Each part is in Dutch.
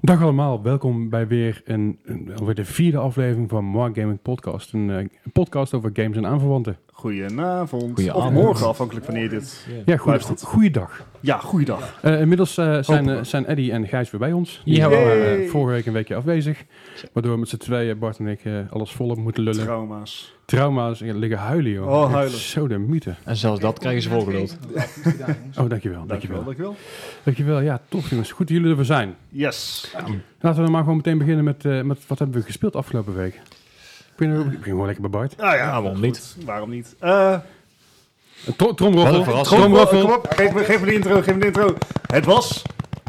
Dag allemaal, welkom bij weer een, een- alweer de vierde aflevering van Mark Gaming Podcast. Een, eh, een podcast over games en aanverwanten. Goedenavond. Of Goedenavond. morgen, afhankelijk van wanneer dit... Ja, goeie, Luistert. goeiedag. Ja, goeiedag. Eh, inmiddels eh, zijn, Hopelijk. eh, zijn Eddie en Gijs weer bij ons. Die Ja. waren Yay. eh, vorige week een weekje afwezig. Waardoor we met z'n tweeën, Bart en ik, eh, alles volop moeten lullen. Trauma's. Trauma's eh, liggen huilen, joh. Oh, huilen. Echt Zo de mythe. En zelfs dat krijgen ze volgeluld. Oh, dankjewel. Dankjewel, Dankjewel. dankjewel. Dankjewel. Ja, tof jongens. Goed dat jullie er weer zijn. Yes. Laten we dan maar gewoon meteen beginnen met, eh, met wat hebben we gespeeld afgelopen week. Ik begin, ik begin gewoon lekker bij Bart. Ah ja, waarom goed. niet? Waarom niet? Eh, Een tro- tromroffel. Wat een verrassing. kom, op, Tromroffel. kom op, geef me, geef me de intro, geef me de intro. Het was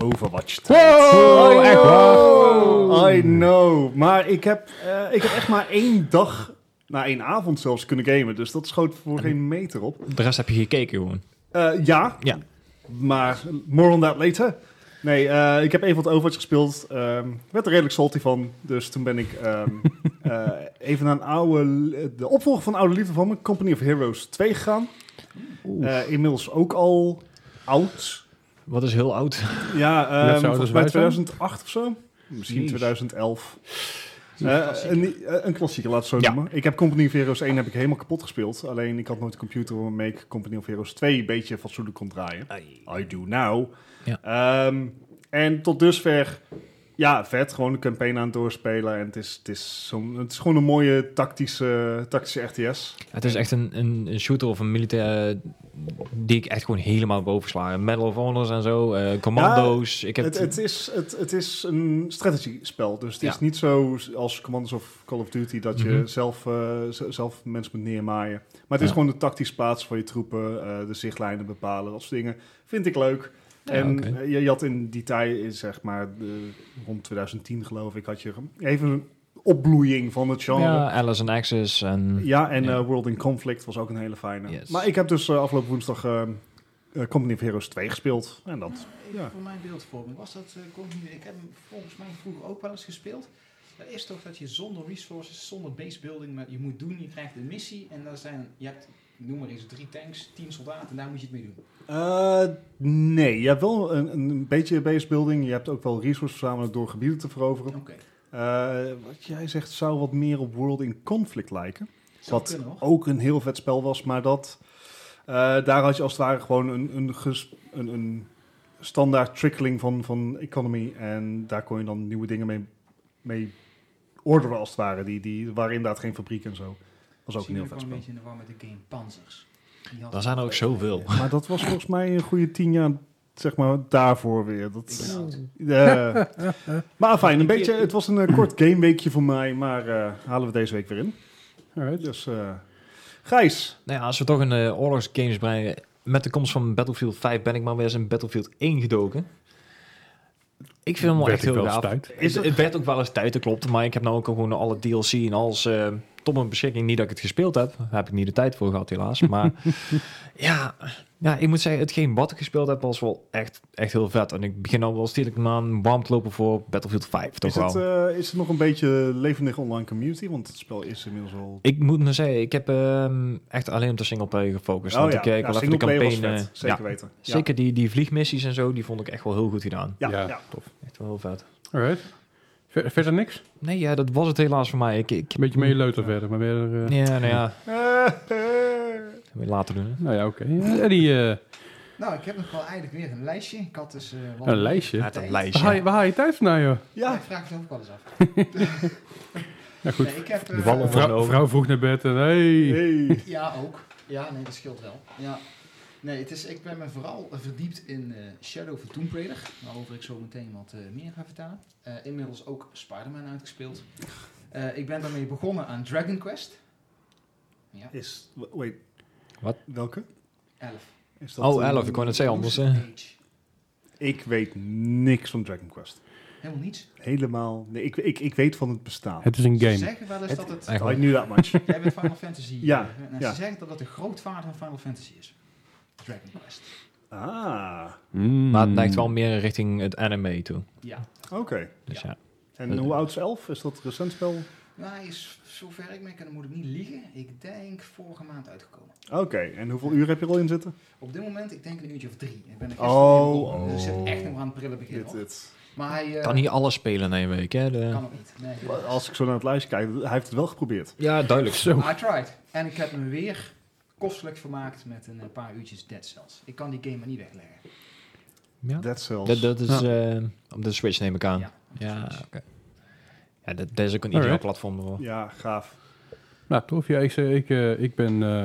Overwatch. Wow, Oh, echt waar. Oh. waar. I know. Maar ik heb, eh, ik heb echt maar één dag, na één avond zelfs, kunnen gamen. Dus dat schoot voor geen meter op. De rest heb je gekeken gewoon. Eh, ja. Ja. Maar more on that later. Nee, eh, ik heb even wat Overwatch gespeeld. ehm werd er redelijk salty van. Dus toen ben ik ehm, eh, even naar een oude, de opvolger van een oude liefde van me, Company of Heroes 2 gegaan. Eh, inmiddels ook al oud. Wat is heel oud. Ja, Net ehm zo oud volgens als wij mij zijn? 2008 of zo. Misschien Jeez. 2011. Eh, een, eh, een klassieker, laat het zo Ja. noemen. Ik heb Company of Heroes 1 heb ik helemaal kapot gespeeld. Alleen ik had nooit een computer waarmee ik Company of Heroes 2 een beetje fatsoenlijk kon draaien. I do now. Ehm, en tot dusver, ja, vet. Gewoon de campaign aan het doorspelen. En het is, het is, zo'n- het is gewoon een mooie tactische, tactische RTS. Het is echt een, een, een shooter of een militair eh, die ik echt gewoon helemaal boven sla. Medal of Honors en zo, eh, commando's. ik heb Het, het, is, het, het is een strategiespel. Dus het Ja. is niet zo als Commandos of Call of Duty dat je Mhm. zelf, eh, z- zelf mensen moet neermaaien. Maar het is Ja. gewoon de tactisch plaats van je troepen, eh, de zichtlijnen bepalen, dat soort dingen. Vind ik leuk. Ja, en oké. eh, je, je had in die tijd, eh, zeg maar eh, rond 2010 geloof ik, had je even een opbloeiing van het genre. ja, Alice en Axis en... Ja, en Ja. eh, World in Conflict was ook een hele fijne. Yes. Maar ik heb dus eh, afgelopen woensdag eh, eh, Company of Heroes 2 gespeeld. En dat Even Ja. voor mijn beeldvorming. Was dat, eh, continu- ik heb hem volgens mij vroeger ook wel eens gespeeld. Dat is toch dat je zonder resources, zonder base building, maar je moet doen, je krijgt een missie en daar zijn, je hebt, noem maar eens, drie tanks, tien soldaten, daar moet je het mee doen. Eh, nee, je hebt wel een, een beetje base building. Je hebt ook wel resources verzamelen door gebieden te veroveren. Oké. Eh, wat jij zegt zou wat meer op World in Conflict lijken. Zou Wat kunnen hoor. Ook een heel vet spel was, maar dat... eh, daar had je als het ware gewoon een, een, ges- een, een standaard trickling van, van economy. En daar kon je dan nieuwe dingen mee, mee orderen als het ware. Die, die waren inderdaad geen fabriek en zo. was ook een Misschien heel ook vet wel een spel. beetje in de war met de game Panzers. Die had- Daar zijn er ook zoveel. Maar dat was volgens mij een goede tien jaar, zeg maar, daarvoor weer. Ik Dat, ben oud. eh, maar fijn, een beetje, het was een eh, kort gameweekje voor mij, maar eh, halen we deze week weer in. Alright. Dus eh, Gijs, Nou ja, als we toch een eh, oorlogsgames brengen... Met de komst van Battlefield 5 ben ik maar weer eens in Battlefield 1 gedoken. Ik vind hem wel Werd echt ik heel wel gaaf. stuit. Het, het werd ook wel eens tijd, dat klopt. Maar ik heb nou ook gewoon alle DLC en alles eh, tot mijn beschikking. Niet dat ik het gespeeld heb. Daar heb ik niet de tijd voor gehad, helaas. Maar ja, ja, ik moet zeggen, hetgeen wat ik gespeeld heb was wel echt, echt heel vet. En ik begin al wel stedelijk aan warm te lopen voor Battlefield 5, toch is het, wel. eh, is het nog een beetje levendig online community? Want het spel is inmiddels al... ik moet me zeggen, ik heb ehm, echt alleen op de singleplayer gefocust. Oh want ik, eh, ik wil even de singleplayer was campagne... vet, eh, zeker ja, weten. Ja. zeker die, die vliegmissies en zo, die vond ik echt wel heel goed gedaan. Ja, Ja. ja. Echt wel heel vet. Alright. Ver- verder niks? Een Nee, ja, dat was het helaas voor mij. Ik, ik, beetje mee leuter verder, maar weer... eh, ja, nou ja, Eh, eh. later doen. hè. Nou ja, oké. Ja, Eddie, eh, Nou, ik heb nog wel eigenlijk weer een lijstje. Ik had dus... eh, wat- een lijstje. Uit een Tijd. Waar haal, je, lijstje. waar haal je tijd vandaan, joh? Ja, ja, ik vraag het ook wel eens af. Ja, goed. Nee, ik heb, eh, De wallen van- Vrouw, vrouw vroeg naar bed en hey. hey. Ja, ook. Ja, nee, dat scheelt wel. Ja. Nee, het is, ik ben me vooral verdiept in eh, Shadow of the Tomb Raider, waarover ik zo meteen wat eh, meer ga vertellen. Eh, inmiddels ook Spider-Man uitgespeeld. Eh, ik ben daarmee begonnen aan Dragon Quest Ja, Is, wait. Wat? Welke? 11. Is Oh, een- 11, ik wou net zeggen anders. eh, hè. Lucid Age. Ik weet niks van Dragon Quest. Helemaal niets. Helemaal. Nee, ik, ik, ik weet van het bestaan. Het is een Ze game. zeggen wel eens Het- dat het... I Eigenlijk. knew that much. Jij bent Final Fantasy. Ja, eh, nou, ja. Ze zeggen dat het de grootvader van Final Fantasy is. Dragon Quest. ah, Mm. Maar het neigt wel meer richting het anime toe. Ja. oké. Dus ja. En hoe oud is Elf? Is dat een recent spel? Oké, Nou, hij is, zover ik me kan, dan moet ik niet liegen. Ik denk vorige maand uitgekomen. en hoeveel uur heb je er al in zitten? Op dit moment, ik denk een uurtje of drie. Ik ben er Oh, gisteren weer begonnen, dus ik zit echt nog aan het prille begin. Dit, hoor. dit. Maar hij eh, Kan niet eh. alles spelen in één week, hè? De- kan het niet. Nee. eh, Als ik zo naar het lijstje kijk, hij heeft het wel geprobeerd. Ja, duidelijk. Zo. I tried. En ik heb me weer kostelijk vermaakt met een eh, paar uurtjes Dead Cells. Ik kan die game maar niet wegleggen. Ja. Dead Cells. Dat, dat is eh, op de Switch neem ik aan. Ja, oké. precies. Ja, dat, dat is ook een Alright. ideaal platform ervoor. Ja, gaaf. Nou, tof. Ja, ik, eh, ik, eh, ik ben... eh,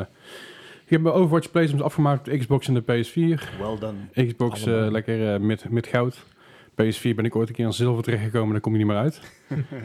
ik heb mijn Overwatch playtimes afgemaakt op de Xbox en de PS4. Well done. Xbox eh, Allemaal. lekker eh, met, met goud. PS4 ben ik ooit een keer aan zilver terechtgekomen. Daar kom je niet meer uit.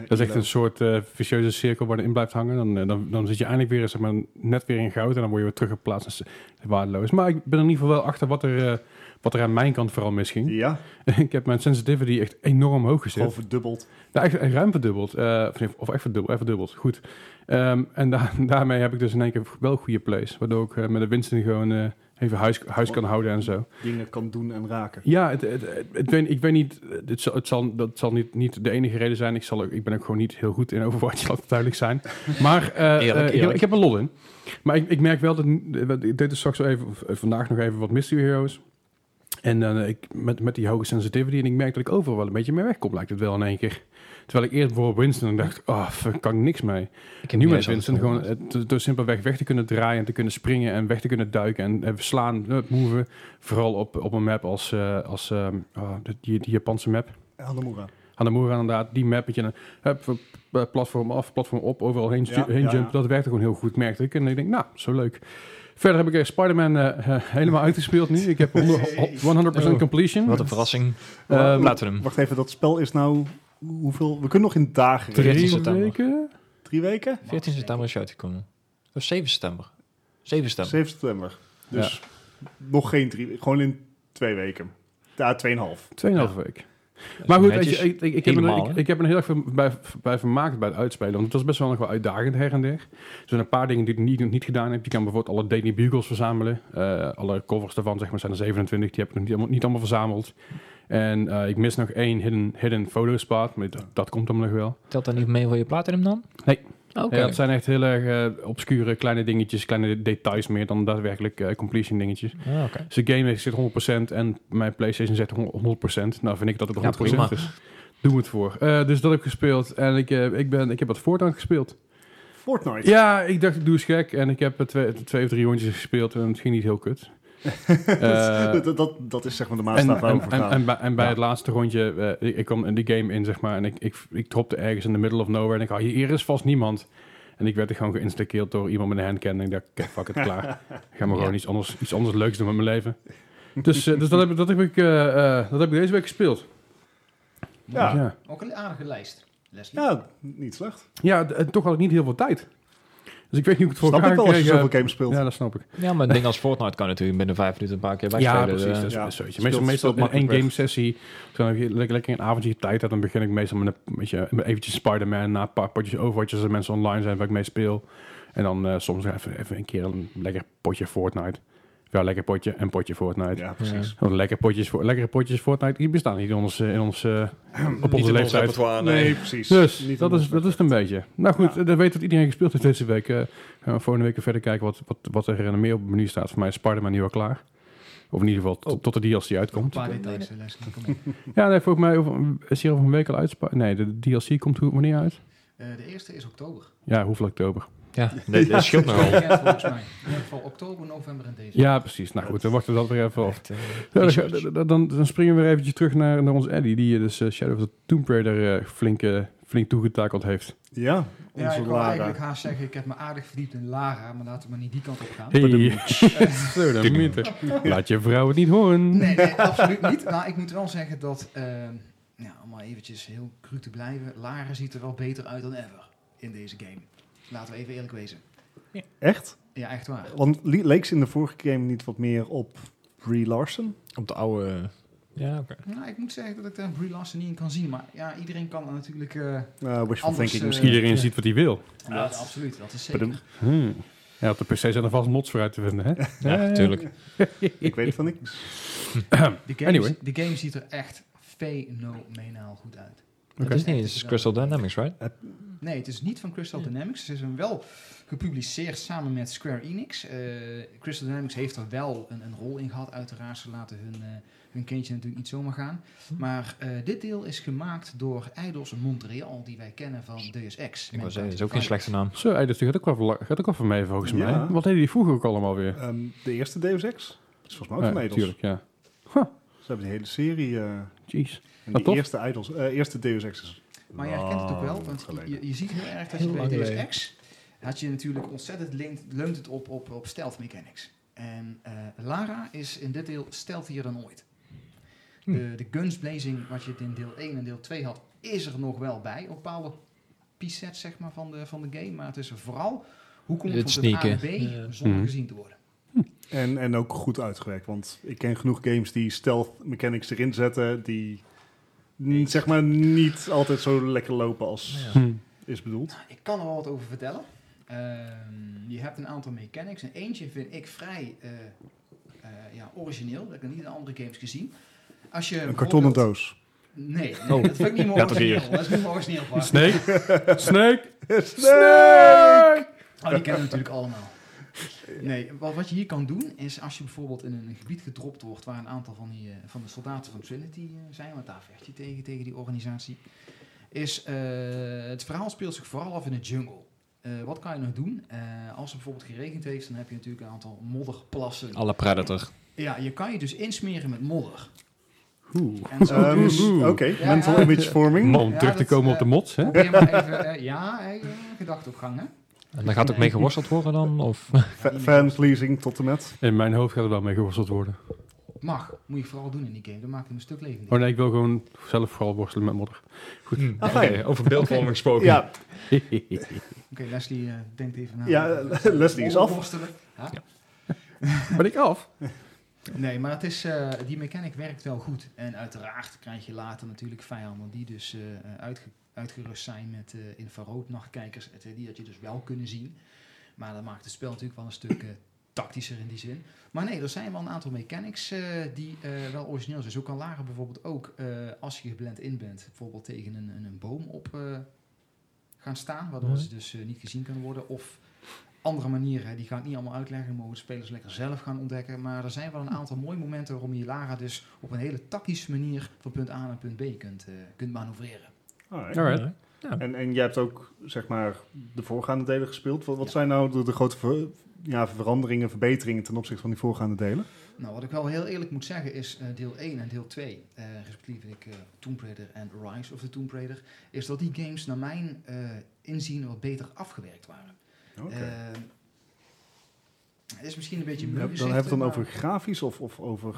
Dat is echt een soort eh vicieuze cirkel waar je in blijft hangen. Dan, eh, dan, dan zit je eindelijk weer zeg maar, net weer in goud. En dan word je weer teruggeplaatst. Dat is eh, waardeloos. Maar ik ben in ieder geval wel achter wat er, eh, wat er aan mijn kant vooral misging. Ja, ik heb mijn sensitivity echt enorm hoog gezet. gewoon verdubbeld. Nou, echt, echt ruim verdubbeld. Eh, of, nee, of echt verdubbeld. Echt verdubbeld. Goed. Ehm, en da- daarmee heb ik dus in één keer wel goede plays. Waardoor ik eh, met de Winston gewoon eh, even huis, huis kan houden en zo. Dingen kan doen en raken. Ja, het, het, het- het weet- ik weet niet. Het zal, het zal, dat zal niet, niet de enige reden zijn. Ik, zal, ook- ik ben ook gewoon niet heel goed in Overwatch, laat het duidelijk zijn. Maar eh, eh, eerlijk. Ik, heb, ik heb een lol in. Maar ik, ik merk wel dat. Ik deed dus straks wel even, of, eh, vandaag nog even wat Mystery Heroes. En dan eh, ik, met, met die hoge sensitivity. En ik merk dat ik overal wel een beetje mee wegkom, lijkt het wel in één keer. Terwijl ik eerst bijvoorbeeld Winston dacht, oh, fuck, kan ik niks mee. Ik Nu niet met eens Winston alles gewoon gehoord. eh, te- door simpelweg weg te kunnen draaien en te kunnen springen en weg te kunnen duiken en eh, slaan, eh, moven. Vooral op, op een map als, eh, als ehm, ah, de- die, die Japanse map. Hanamura. Hanamura inderdaad, die map met je een hup, eh, platform af, platform op, overal heen, stu- Ja, heen ja, jump. ja. Dat werkte gewoon heel goed, merkte ik. En ik denk, nou, zo leuk. Verder heb ik eh, Spider-Man eh, eh, helemaal uitgespeeld nu. Ik heb 100%, 100% Oh. completion. Wat een Nou, verrassing. Ehm, Laten we hem. Hm. Wacht even, dat spel is nou... Hoeveel? We kunnen nog in dagen. rekenen. 13 Drie september. weken? Drie weken? 14 september is hij uitgekomen. Of 7 september. 7 september. 7 september. Dus nog geen drie, gewoon in twee weken. Ja, tweeënhalf. Tweeënhalf week. Maar goed, weet Netjes. je, ik, ik, ik, heb me Helemaal, er, ik, hè? ik heb me er heel erg van- bij, bij vermaakt bij het uitspelen. Want het was best wel nog wel uitdagend her en der. Er zijn een paar dingen die ik niet, niet gedaan heb. Je kan bijvoorbeeld alle Daily Bugles verzamelen. Eh, alle covers daarvan zeg maar, zijn er 27. Die heb ik nog niet, allemaal- niet allemaal verzameld. En eh, ik mis nog één hidden, hidden photo spot. Maar dat, dat komt allemaal nog wel. Telt dat niet mee voor je platinum dan? Ah, Nee. Oké. Ja, het zijn echt heel erg eh, obscure kleine dingetjes. Kleine details meer dan daadwerkelijk eh, completion dingetjes. Ah, oké. Dus de game zit 100% en mijn PlayStation zit 100%. Nou, vind ik dat het Ja, op 100% prima. is. Doe Dus het voor. Eh, dus dat heb ik gespeeld. En ik, eh, ik, ben, ik heb wat Fortnite gespeeld. Fortnite. Ja, ik dacht, ik doe eens gek. En ik heb eh, twee, twee of drie rondjes gespeeld. En het ging niet heel kut. Eh, dat, dat, dat is zeg maar de en, maatstaf waar en, we voor en, gaan. en bij, en bij Ja. het laatste rondje, eh, ik, ik kwam in die game in, zeg maar. En ik, ik, ik dropte ergens in the middle of nowhere. En ik had hier is vast niemand. En ik werd er gewoon geïnstakeerd door iemand met een handcan. En ik dacht, "Oké, fuck het, klaar. Ik ga maar Ja. gewoon iets anders, iets anders leuks doen met mijn leven. Dus, eh, dus dat, heb, dat, heb ik, eh, eh, dat heb ik deze week gespeeld. Ja. Dus ja. Ook een aardige lijst, Leslie. ja, niet slecht. Ja, d- en toch had ik niet heel veel tijd. Dus ik weet niet hoe ik het voor Snap elkaar ik wel als je kreeg, eh, zoveel games speelt. Ja, dat snap ik. Ja, maar een ding als Fortnite kan natuurlijk binnen 5 minuten een paar keer wegspelen. Ja, precies. Dat Eh, is Ja. best wel iets. Speelt- Meestal, meestal speelt in één makkelijk game sessie, dus dan heb je lekker, lekker een avondje tijd had, dan begin ik meestal met een beetje, met eventjes Spider-Man, na een paar potjes Overwatch als er mensen online zijn waar ik mee speel. En dan eh, soms nog even, even een keer een lekker potje Fortnite. Ja, lekker potje en potje Fortnite. Ja, dus- precies. Want lekker potjes, voor, lekkere potjes Fortnite, die bestaan niet in ons, eh, in ons, eh, op onze leeftijd. nee. precies. Dus, Niet dat in is, dat is het een beetje. Nou goed, eh, dan weet dat iedereen gespeeld heeft deze week. Eh, gaan we volgende week weer verder kijken wat, wat, wat er eh, meer op het menu staat. Voor mij is Spider-Man nu al klaar. Of in ieder geval Oh. tot- tot de DLC Een uitkomt. paar details, eh, Leslie. Kom op. Ja, nee, volgens mij over- is hier over een week al uit. Spi- Nee, de DLC komt hoe- wanneer uit? Eh, de eerste is oktober. Ja, hoeveel oktober? Ja, nee, dat scheelt nogal. Ja, volgens mij. In ieder geval oktober, november en december. Ja, precies. Nou goed, dan wachten we dat weer even af. Echt, eh, Ja, dan, research. ga- dan- dan, dan springen we weer eventjes terug naar, naar ons Eddie, die eh, dus eh, Shadow of the Tomb Raider eh, flink, eh, flink toegetakeld heeft. Ja, onze Ja, ik wil Lara. eigenlijk haast zeggen, ik heb me aardig verdiept in Lara, maar laten we maar niet die kant op gaan. Hey. Zo, dan meter. Laat je vrouw het niet horen. Nee, nee, absoluut niet. Maar ik moet wel zeggen dat, ehm, ja, om maar eventjes heel cru te blijven, Lara ziet er wel beter uit dan ever in deze game. Laten we even eerlijk wezen. Echt? Ja, echt waar. Want le- leek ze in de vorige game niet wat meer op Brie Larson? Op de oude... Ja, oké. Nou, ik moet zeggen dat ik daar Brie Larson niet in kan zien, maar ja, iedereen kan er natuurlijk... eh, Eh wishful Anders, thinking eh, misschien. Iedereen ziet wat hij wil. ja, absoluut, dat is zeker. Hmm. Ja, op de PC zijn er vast mods voor uit te vinden, hè? Ja, natuurlijk. Ik weet van niks. De game, Anyway. de game ziet er echt fenomenaal goed uit. Het is niet eens Crystal Dynamics, right? Nee, het is niet van Crystal Dynamics. Ze zijn wel gepubliceerd samen met Square Enix. Eh, Crystal Dynamics heeft er wel een, een rol in gehad, uiteraard. Ze laten hun, eh, hun kindje natuurlijk niet zomaar gaan. Maar eh, dit deel is gemaakt door Eidos Montreal, die wij kennen van Deus Ex. Ik was zeggen, dat dat is ook geen slechte naam. Zo, hey, dus die gaat ook wel, verla- gaat ook wel van mee volgens Ja. mij. Wat deden die vroeger ook allemaal weer? Ehm, de eerste Deus Ex. Dat is volgens mij ook Ja, van Eidos. tuurlijk, ja. Ze hebben de hele serie. eh, Jeez. en Ja, die toch? eerste, Idols, eh, eerste Deus Ex is. Maar jij herkent het ook wel, lang want je- geleden. je, je ziet heel erg dat je Heel bij lang Deus geleden. Ex... had je natuurlijk ontzettend leent, leunt het op, op, op stealth mechanics. En eh, Lara is in dit deel stealthier dan ooit. Hm. De, de guns blazing, wat je in deel 1 en deel 2 had, is er nog wel bij. Op bepaalde pieces zeg maar, van, de, van de game. Maar het is er vooral hoe kom je Het van het A naar B sneaken, Hm. ja. zonder Mhm. gezien te worden. En, en ook goed uitgewerkt. Want ik ken genoeg games die stealth mechanics erin zetten. die mm, zeg maar niet altijd zo lekker lopen als Hm. is bedoeld. Nou, ik kan er wel wat over vertellen. Ehm, je hebt een aantal mechanics. En eentje vind ik vrij eh, eh, ja, origineel. Dat heb ik nog niet in andere games gezien. Als je Een kartonnen bijvoorbeeld- doos. Nee, nee, dat vind ik niet meer Ja, toch origineel. Dat is niet meer origineel. Bart. Snake? Snake? Snake! Oh, die kennen we natuurlijk allemaal. Nee, wat, wat je hier kan doen is als je bijvoorbeeld in een gebied gedropt wordt waar een aantal van, die, eh, van de soldaten van Trinity eh, zijn, want daar vecht je tegen, tegen die organisatie, is eh, het verhaal speelt zich vooral af in de jungle. Eh, wat kan je nog doen? Eh, als het bijvoorbeeld geregend heeft, dan heb je natuurlijk een aantal modderplassen. Alle Predator. Ja, je kan je dus insmeren met modder. En zo Ehm, dus... Oké, Ja, mental ja. image forming. Man, Ja, terug te dat, komen eh, op de mods, hè? Probeer maar even, eh, ja, eh, gedachteopgang, hè? En daar gaat ook mee geworsteld worden dan? Of? Fa- Fanpleasing tot en met. In mijn hoofd gaat er wel mee geworsteld worden. Mag, moet je vooral doen in die game. Dat maakt hem een stuk levendiger. Oh nee, ik wil gewoon zelf vooral worstelen met modder. Ah, Hmm. Oké, fijn. over beeldvorming gesproken. Ja, Oké, Leslie eh, denkt even na. ja, eh, Leslie is af. Onderworstelen. Ja. Ben ik af? Nee, maar het is, eh, die mechanic werkt wel goed. En uiteraard krijg je later natuurlijk vijanden die dus eh, eh, uitge- uitgerust zijn met eh infrarood nachtkijkers. et cetera, Die dat je dus wel kunnen zien. Maar dat maakt het spel natuurlijk wel een stuk eh, tactischer in die zin. Maar nee, er zijn wel een aantal mechanics eh, die eh, wel origineel zijn. Zo kan Lara bijvoorbeeld ook, eh, als je geblend in bent, bijvoorbeeld tegen een, een, een boom op eh, gaan staan. Waardoor Mhm. ze dus eh, niet gezien kunnen worden. Of andere manieren, die ga ik niet allemaal uitleggen. Mogen de spelers lekker zelf gaan ontdekken. Maar er zijn wel een aantal mooie momenten waarom je Lara dus op een hele tactische manier van punt A naar punt B kunt, eh, kunt manoeuvreren. Alright. Alright. En, en jij hebt ook, zeg maar, de voorgaande delen gespeeld. Wat, wat zijn nou de, de grote ver- ja, veranderingen, verbeteringen ten opzichte van die voorgaande delen? Nou, wat ik wel heel eerlijk moet zeggen is eh, deel 1 en deel 2, eh, respectievelijk eh Tomb Raider en Rise of the Tomb Raider, is dat die games naar mijn eh, inzien wat beter afgewerkt waren. Eh, het is misschien een beetje dan moeilijk hebben we gezegd, het dan maar over grafisch of, of over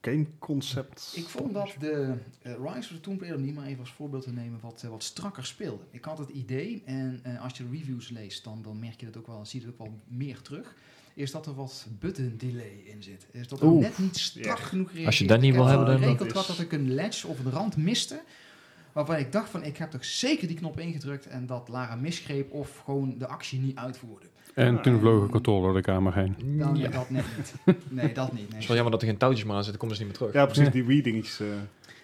gameconcept? Ik vond dat de eh, Rise of the Tomb Raider, om die maar even als voorbeeld te nemen, wat, eh, wat strakker speelde. Ik had het idee, en eh, als je reviews leest, dan, dan merk je dat ook wel, zie je het ook wel meer terug, is dat er wat button delay in zit. Is dat er Oeh. net niet strak Ja. genoeg reageert. Als je dat niet Ik wil heb hebben, wel dan- geregeld dat gehad is- dat ik een ledge of een rand miste, waarvan ik dacht van, ik heb toch zeker die knop ingedrukt en dat Lara misgreep of gewoon de actie niet uitvoerde. En toen vloog een controle door de kamer heen. Dan Ja. dat net niet. Nee, dat niet. Het Nee. is wel jammer dat er geen touwtjes meer aan zitten, komen ze niet meer terug. Ja, precies, die Wii-dingetjes. eh.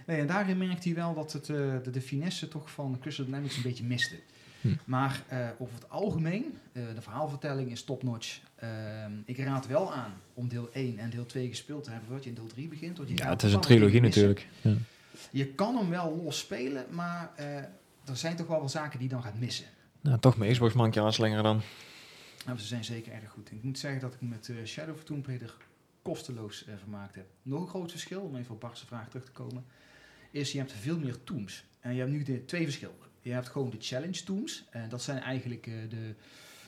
Nee, en daarin merkt hij wel dat het, eh, de, de finesse toch van Crystal Dynamics een beetje miste. Hm. Maar eh, over het algemeen, eh, de verhaalvertelling is topnotch. Ehm ik raad wel aan om deel 1 en deel 2 gespeeld te hebben voordat je in deel 3 begint. want je Ja, gaat het is een bepaalde dingen trilogie missen. natuurlijk. Ja. Je kan hem wel los spelen, maar eh, er zijn toch wel wel zaken die je dan gaat missen. Nou, toch mijn Xbox mankje aanslingeren dan. Nou, ze zijn zeker erg goed. Ik moet zeggen dat ik me met eh, Shadow of Tomb Raider kosteloos eh, vermaakt heb. Nog een groot verschil, om even op Bart's vraag terug te komen, is je hebt veel meer tombs. En je hebt nu de, twee verschillen. Je hebt gewoon de challenge tombs. En dat zijn eigenlijk eh, de,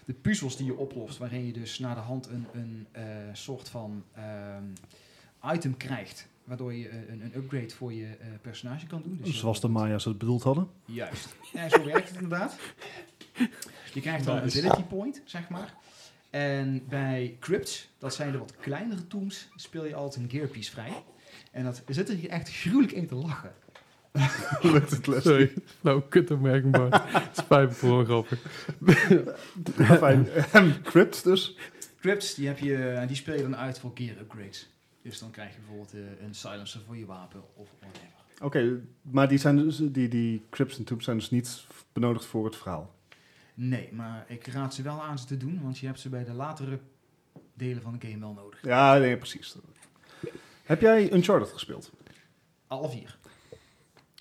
de puzzels die je oplost, waarin je dus naar de hand een, een eh, soort van ehm, item krijgt. Waardoor je eh, een, een upgrade voor je eh, personage kan doen. Dus je- Zoals de Maya's het bedoeld hadden. Juist. Ja, zo werkt het Eh, inderdaad. Je krijgt dan een ability point, zeg maar. En bij crypts, dat zijn de wat kleinere tombs, speel je altijd een gearpiece vrij. En dat zit er hier echt gruwelijk in te lachen. Lukt het les. Sorry, nou kutopmerking Bart. Het spijt me voor een grapje. Fijn. Ehm, Crypt dus. Crypts, die, heb je, en die speel je dan uit voor gear upgrades. Dus dan krijg je bijvoorbeeld eh, een silencer voor je wapen of whatever. Oké, maar die, zijn dus, die, die Crypts en Tombs zijn dus niet benodigd voor het verhaal. Nee, maar ik raad ze wel aan ze te doen, want je hebt ze bij de latere delen van de game wel nodig. Ja, nee, precies. Heb jij Uncharted gespeeld? Alle vier.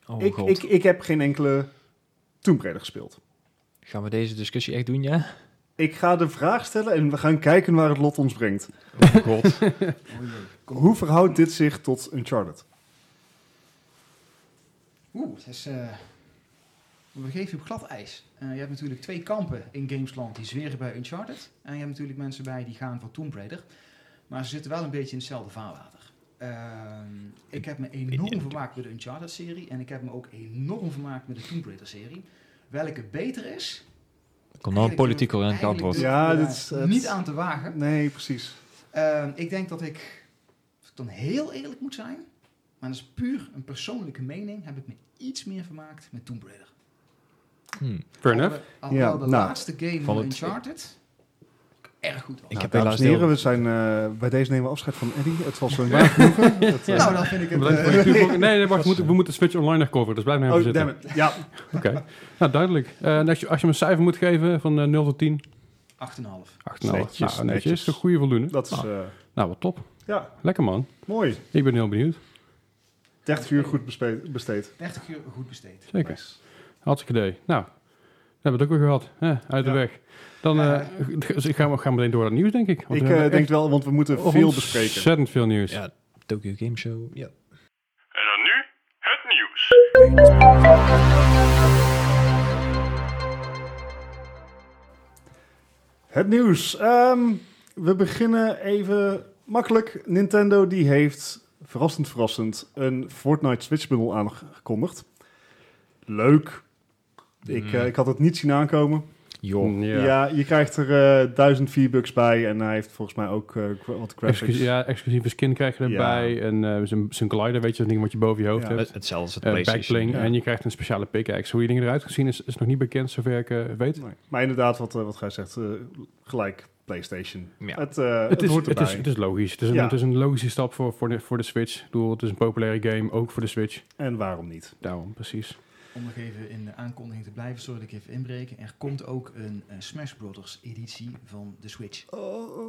Oh ik, god. ik, ik heb geen enkele Tomb Raider gespeeld. Gaan we deze discussie echt doen, ja? Ik ga de vraag stellen en we gaan kijken waar het lot ons brengt. Oh god. Oh jee. Kom. Hoe verhoudt dit zich tot Uncharted? Oeh, het is, eh, we begeven je op glad ijs. Eh, je hebt natuurlijk twee kampen in Gamesland die zweren bij Uncharted. En je hebt natuurlijk mensen bij die gaan voor Tomb Raider. Maar ze zitten wel een beetje in hetzelfde vaarwater. Ehm, ik heb me enorm vermaakt met de Uncharted-serie. En ik heb me ook enorm vermaakt met de Tomb Raider-serie. Welke beter is... Komt nou een politiek correct eigenlijk antwoord. durf ik Ja, me dit daar is- het- Niet aan te wagen. Nee, precies. Ehm, ik denk dat ik, als ik dan heel eerlijk moet zijn, maar dat is puur een persoonlijke mening, heb ik me iets meer vermaakt met Tomb Raider. Hm. Fair enough. Al, Ja, al de nou, laatste game van van het- Uncharted, erg goed was. Ik Ik heb heb helaas Nou, dames en heren, heel- we zijn eh, bij deze nemen we afscheid van Eddie. Het was een waar genoegen. Het, eh, Nou, dan vind ik het... Bedankt voor eh, je toevoeging. Nee, nee, wacht, we moeten, we moeten Switch Online nog coveren, dus blijf nou even oh, damn zitten. it. Ja, Oké, nou duidelijk. Eh, en als, je, als je hem een cijfer moet geven van eh, 0 tot 10, 8,5. 8 nou, Netjes, netjes. netjes. netjes. Een goede voldoende. dat Ah. is... nou, eh, nou, wat top. ja, Lekker man. mooi. Ik ben heel benieuwd. 30 uur goed bespe- besteed. 30 uur goed besteed. Zeker. Hartstikke idee. Nou, we hebben we het ook weer gehad. Hè, uit de Ja. weg. Dan Ja. eh, dus ik ga, we gaan meteen door naar het nieuws, denk ik. Want Ik we eh, hebben nou? denk echt wel, want we moeten veel bespreken. Ontzettend veel nieuws. Ja, Tokyo Game Show. Ja. En dan nu het nieuws. Het nieuws. Ehm, we beginnen even makkelijk. Nintendo die heeft, verrassend verrassend, een Fortnite Switch bundle aangekondigd. Leuk. Ik, eh, ik had het niet zien aankomen. Joh. Ja, Mm. Ja. je krijgt er eh 1000 V-bucks bij en hij heeft volgens mij ook eh, gra- wat graphics. Exclusief, ja, exclusieve skin krijg je erbij. En eh, zijn zijn glider, weet je, dat ding wat je boven je hoofd Ja. hebt. Het- Hetzelfde als het Eh, PlayStation. backbling. ja. En je krijgt een speciale pickaxe. Hoe die dingen eruit gaan zien is, is nog niet bekend, zover ik eh, weet. Nee. Maar inderdaad, wat, eh, wat gij zegt, eh, gelijk PlayStation. Ja. Het, eh, Het het is, hoort het, erbij. is, het is logisch. Het is, een, Ja. het is een logische stap voor, voor, de, voor de Switch. Ik bedoel, het is een populaire game, ook voor de Switch. En waarom niet? Daarom, precies. Om nog even in de aankondiging te blijven, sorry dat ik even inbreken. Er komt ook een eh, Smash Brothers editie van de Switch.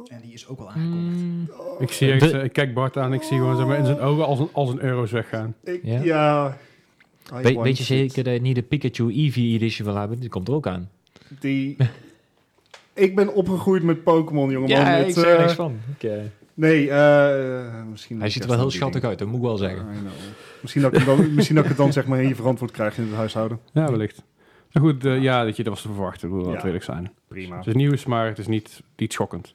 En die is ook Ah, al aangekondigd. Mm. Hmm. Ik, zie De- echt, eh, ik kijk Bart aan, ik zie gewoon zeg maar, in zijn ogen als een, als een euro's weggaan. Ik, Ja. ja. I Weet- want weet je it. zeker dat je niet de Pikachu Eevee Edition wil hebben? Die komt er ook aan. Die... ik ben opgegroeid met Pokémon, jongeman. Met, zeg eh, van. Nee, eh, misschien... Hij ziet er wel heel schattig uit. uit, dat moet ik wel zeggen. Misschien dat, ik hem dan, misschien dat ik het dan zeg maar in je verantwoord krijg in het huishouden. Ja, wellicht. Nou goed, eh, ja, dat, je, dat was te verwachten. Ik bedoel, laten we Ja. eerlijk zijn. Prima. Het is nieuws, maar het is niet, niet schokkend.